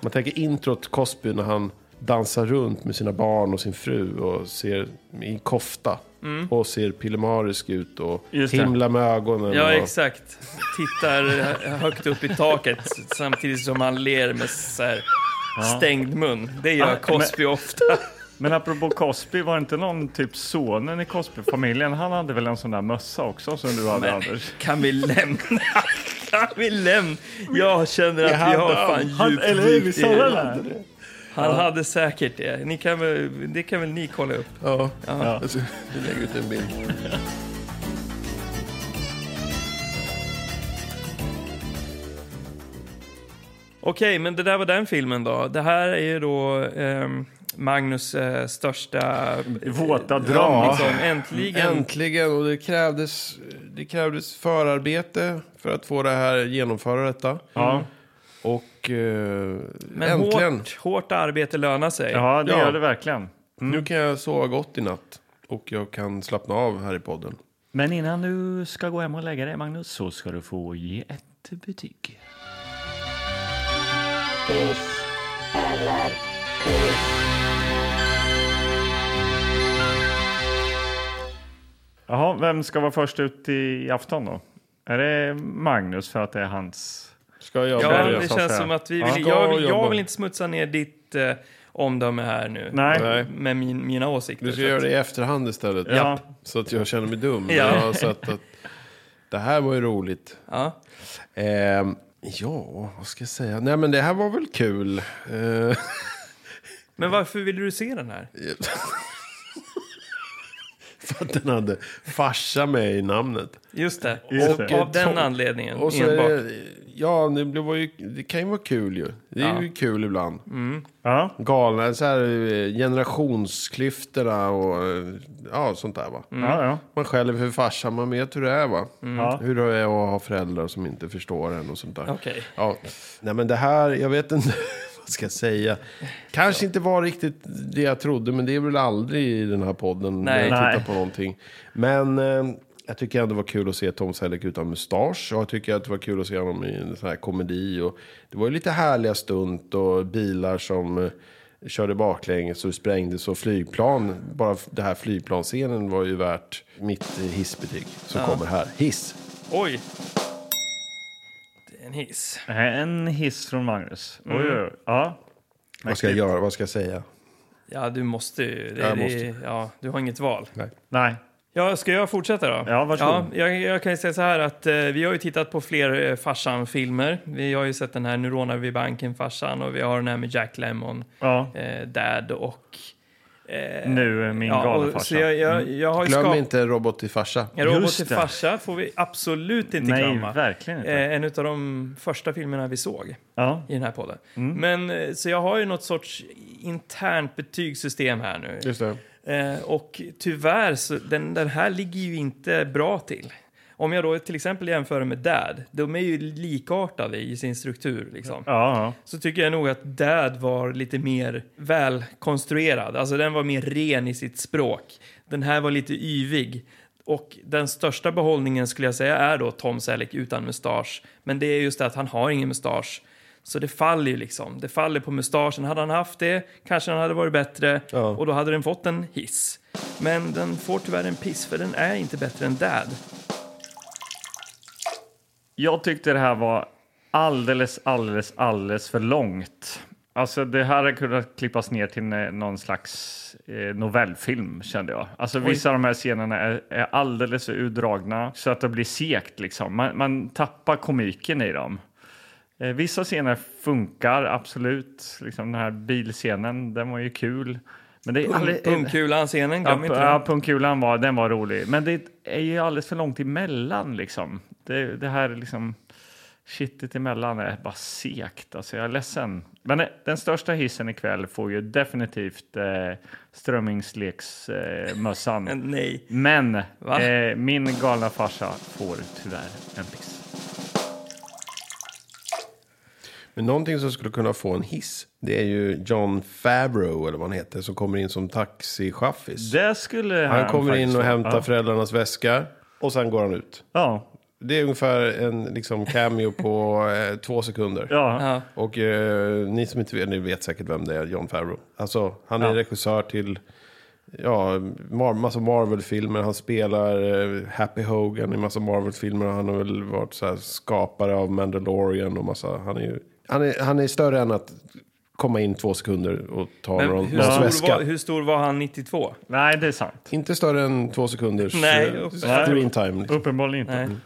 Speaker 1: Man tänker introt Cosby när han dansar runt med sina barn och sin fru och ser i kofta. Och ser pillemarisk ut och
Speaker 2: Just det.
Speaker 1: himlar med ögonen.
Speaker 3: Ja,
Speaker 1: och,
Speaker 3: exakt. Tittar högt upp i taket samtidigt som han ler med så här stängd mun. Det
Speaker 2: Ah,
Speaker 3: gör
Speaker 2: men-
Speaker 3: Cosby ofta.
Speaker 2: det. Men apropå Cosby, var det inte någon typ sonen i Cosby-familjen? Han hade väl en sån där mössa också som du hade,
Speaker 3: Men-
Speaker 2: Anders?
Speaker 3: Kan vi lämna? Kan vi lämna? Jag känner att vi har fan
Speaker 2: Han,
Speaker 3: djupt
Speaker 2: eller hur?
Speaker 3: dykt
Speaker 2: Visst
Speaker 3: i
Speaker 2: hade han
Speaker 3: det.
Speaker 2: det?
Speaker 3: Han hade säkert det. Ni kan väl, det kan väl ni kolla upp?
Speaker 1: Ja. Alltså, vi lägger ut en bild.
Speaker 3: Okej, men det där var den filmen då. Det här är ju då ehm, Magnus eh, största
Speaker 2: Våta dröm.
Speaker 1: Ja.
Speaker 3: liksom. Äntligen.
Speaker 1: Äntligen, och det krävdes, det krävdes förarbete för att få det här, genomföra detta.
Speaker 2: Ja,
Speaker 1: Och eh,
Speaker 3: Men
Speaker 1: äntligen,
Speaker 3: Hårt, Mm. hårt arbete lönar sig.
Speaker 2: ja, det
Speaker 1: Ja.
Speaker 2: gör det verkligen.
Speaker 1: nu kan jag sova gott i natt. Och jag kan slappna av här i podden.
Speaker 2: Men innan du ska gå hem och lägga dig, Magnus, så ska du få ge ett betyg. Jaha, vem ska vara först ut i afton då? Är det Magnus för att det är hans...
Speaker 1: Ska jag
Speaker 3: Ja,
Speaker 1: börja?
Speaker 2: Börja,
Speaker 3: det
Speaker 2: så att
Speaker 3: känns
Speaker 2: säga.
Speaker 3: som att vi
Speaker 1: Ja.
Speaker 3: vill, jag, vill,
Speaker 1: Jobba.
Speaker 3: jag vill inte smutsa ner ditt eh, omdöme här nu.
Speaker 2: Nej.
Speaker 1: Nej.
Speaker 3: Med min, mina åsikter.
Speaker 1: Du ska
Speaker 3: Så
Speaker 1: göra
Speaker 3: att-
Speaker 1: det i efterhand istället.
Speaker 2: Ja.
Speaker 1: Så att jag känner mig dum.
Speaker 3: Ja.
Speaker 1: Jag har sett att det här var ju roligt.
Speaker 3: Ja.
Speaker 1: Ehm, ja, vad ska jag säga? Nej, men det här var väl kul. Eh,
Speaker 3: Men varför ville du se den här?
Speaker 1: för att den hade farsa med i namnet.
Speaker 3: Just det.
Speaker 2: Just
Speaker 3: och,
Speaker 2: det.
Speaker 3: Av den
Speaker 1: Tom-
Speaker 3: anledningen
Speaker 1: Och så är
Speaker 3: enbart.
Speaker 1: det, ja, det, blev- var ju, det kan ju vara kul ju. Det är ju kul ibland.
Speaker 2: Ja,
Speaker 1: Galna, så här, eh, generationsklyftorna och eh, ja, sånt där va.
Speaker 3: Mm.
Speaker 2: ja, ja.
Speaker 1: Man skäller för farsan, man vet hur det är va?
Speaker 2: Ja.
Speaker 1: Hur det är att ha föräldrar som inte förstår en och sånt där.
Speaker 3: Okej.
Speaker 1: Ja. Nej men det här, jag vet inte vad ska jag säga. Kanske inte var riktigt det jag trodde, men det är väl aldrig i den här podden
Speaker 3: Nej.
Speaker 1: när jag
Speaker 2: Nej.
Speaker 1: tittar på någonting. Men eh, jag tycker ändå det var kul att se Tom Selleck utan mustasch. Och jag tycker att det var kul att se honom i en sån här komedi. Och det var ju lite härliga stunt och bilar som eh, körde baklänges och sprängdes och flygplan. Bara f- det här flygplansscenen var ju värt mitt eh, hissbetyg som kommer här. Hiss!
Speaker 3: Oj! Det är en hiss.
Speaker 2: En hiss från Magnus.
Speaker 3: Mm.
Speaker 2: Oj, oj, oj. Ja.
Speaker 1: Vad ska jag göra? Vad ska jag säga?
Speaker 3: Ja, du måste ju. Det,
Speaker 1: Jag
Speaker 3: det, ja, du har inget val.
Speaker 2: Nej.
Speaker 3: Ja, ska jag fortsätta då?
Speaker 2: Ja, varsågod.
Speaker 3: Ja, jag, jag kan ju säga så här att eh, vi har ju tittat på fler eh, Farsan-filmer. Vi har ju sett den här Nu rånar vi banken, Farsan, och vi har den här med Jack Lemmon,
Speaker 2: Ja,
Speaker 3: eh, Dad och... eh,
Speaker 2: nu är min
Speaker 3: ja,
Speaker 2: galna
Speaker 3: och,
Speaker 2: farsa. Mm.
Speaker 3: så jag, jag, jag har ju
Speaker 1: Glöm
Speaker 3: skapat-
Speaker 1: inte robot till farsa.
Speaker 3: En robot
Speaker 2: Just
Speaker 3: till
Speaker 2: det.
Speaker 3: farsa får vi absolut inte
Speaker 2: Nej,
Speaker 3: glömma.
Speaker 2: verkligen inte.
Speaker 3: Eh, en av de första filmerna vi såg
Speaker 2: Ja.
Speaker 3: i den här podden.
Speaker 1: Mm.
Speaker 3: Men, eh, så jag har ju något sorts internt betygssystem här nu.
Speaker 1: Just det.
Speaker 3: Eh, och tyvärr, så den, den här ligger ju inte bra till. Om jag då till exempel jämför med Dad, de är ju likartade i sin struktur liksom.
Speaker 2: Ja,
Speaker 3: Så tycker jag nog att Dad var lite mer välkonstruerad, alltså den var mer ren i sitt språk. Den här var lite yvig. Och den största behållningen skulle jag säga är då Tom Selleck utan mustasch. Men det är just det att han har ingen mustasch. Så det faller ju liksom. Det faller på mustaschen. Hade han haft det kanske han hade varit bättre och då hade den fått en hiss. Men den får tyvärr en piss för den är inte bättre än Dad.
Speaker 2: Jag tyckte det här var alldeles, alldeles, alldeles för långt. Alltså det här hade kunnat klippas ner till eh, någon slags eh, novellfilm kände jag. Alltså vissa av de här scenerna är, är alldeles för utdragna så att det blir segt liksom. Man, man tappar komiken i dem. Eh, vissa scener funkar absolut. Liksom den här bilscenen, den var ju kul. Men det är alldeles-
Speaker 3: Pungkulan-scenen, glöm inte
Speaker 2: Ja, ja
Speaker 3: den.
Speaker 2: pungkulan var, den var rolig. Men det är ju alldeles för långt emellan liksom. Det, det här liksom shitet emellan är bara segt. Alltså jag är ledsen. Men eh, den största hissen ikväll får ju definitivt eh, strömmingsleksmössan. Eh,
Speaker 3: Men
Speaker 2: mössan.
Speaker 3: Nej.
Speaker 2: Men
Speaker 3: Va?
Speaker 2: eh, min galna farsa får tyvärr en piss.
Speaker 1: Men någonting som skulle kunna få en hiss. Det är ju John Favreau eller vad han heter. Som kommer in som taxichaffis.
Speaker 2: Det skulle
Speaker 1: Han kommer in
Speaker 2: faktiskt
Speaker 1: och
Speaker 2: få.
Speaker 1: hämtar
Speaker 2: Ja.
Speaker 1: föräldrarnas väska. Och sen går han ut.
Speaker 2: Ja.
Speaker 1: Det är ungefär en liksom, cameo på eh, två sekunder.
Speaker 2: Ja.
Speaker 3: Ja.
Speaker 1: Och eh, ni som inte vet, ni vet säkert vem det är, John Favreau. Alltså, han är regissör till ja, mar- massa Marvel-filmer. Han spelar eh, Happy Hogan i massa Marvel-filmer. Han har väl varit så här, skapare av Mandalorian och massa... Han är, ju, han, är, han är större än att komma in två sekunder och ta
Speaker 3: Men
Speaker 1: någon,
Speaker 3: hur,
Speaker 1: någons
Speaker 3: stor
Speaker 1: väska.
Speaker 3: var, hur stor var han 92?
Speaker 2: Nej, det är sant.
Speaker 1: Inte större än två sekunders
Speaker 3: Nej,
Speaker 1: eh,
Speaker 3: upp-
Speaker 1: screen time. Liksom.
Speaker 2: Uppenbarligen inte.
Speaker 3: Nej.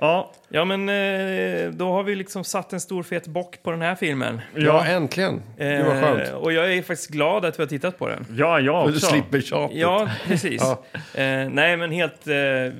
Speaker 2: Ja,
Speaker 3: Ja, men eh, då har vi liksom satt en stor fet bock på den här filmen.
Speaker 1: Ja, äntligen. Det var skönt.
Speaker 3: Eh, och jag är faktiskt glad att vi har tittat på den.
Speaker 2: ja, jag
Speaker 1: Och du
Speaker 2: också.
Speaker 1: slipper tjatet.
Speaker 3: Ja, precis. Eh, nej, men helt... Eh,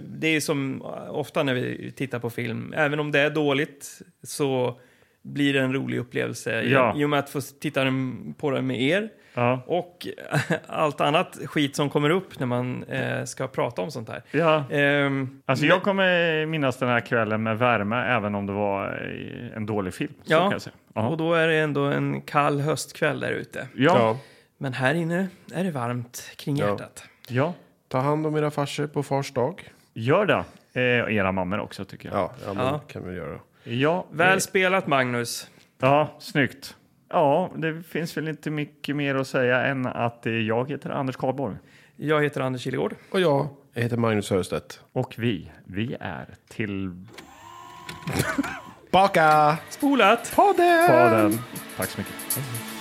Speaker 3: det är ju som ofta när vi tittar på film. Även om det är dåligt så blir det en rolig upplevelse i-
Speaker 2: Ja.
Speaker 3: i och med att få titta den- på den med er.
Speaker 2: Ja.
Speaker 3: Och allt annat skit som kommer upp när man eh, ska prata om sånt här.
Speaker 2: Ja.
Speaker 3: Ehm,
Speaker 2: Alltså jag kommer minnas den här kvällen med värme även om det var eh, en dålig film. Så
Speaker 3: Ja.
Speaker 2: kan jag säga. Ja.
Speaker 3: och då är det ändå en kall höstkväll där ute.
Speaker 2: Ja.
Speaker 1: Ja.
Speaker 3: Men här inne är det varmt kring
Speaker 1: Ja.
Speaker 3: hjärtat.
Speaker 2: ja,
Speaker 1: Ta hand om era farsor på fars dag.
Speaker 2: gör det. Eh, och era mammor också tycker jag.
Speaker 1: Ja, ja, men
Speaker 3: Ja.
Speaker 1: det kan vi göra.
Speaker 2: Ja, ja,
Speaker 3: Väl spelat, Magnus.
Speaker 2: ja snyggt. Ja, det finns väl inte mycket mer att säga än att eh, jag heter Anders Karlborg.
Speaker 3: Jag heter Anders Kilegård.
Speaker 1: Och jag heter Magnus Högstedt.
Speaker 2: Och vi, vi är tillbaka.
Speaker 1: Baka!
Speaker 3: Spolat!
Speaker 1: Podden!
Speaker 2: Tack så mycket.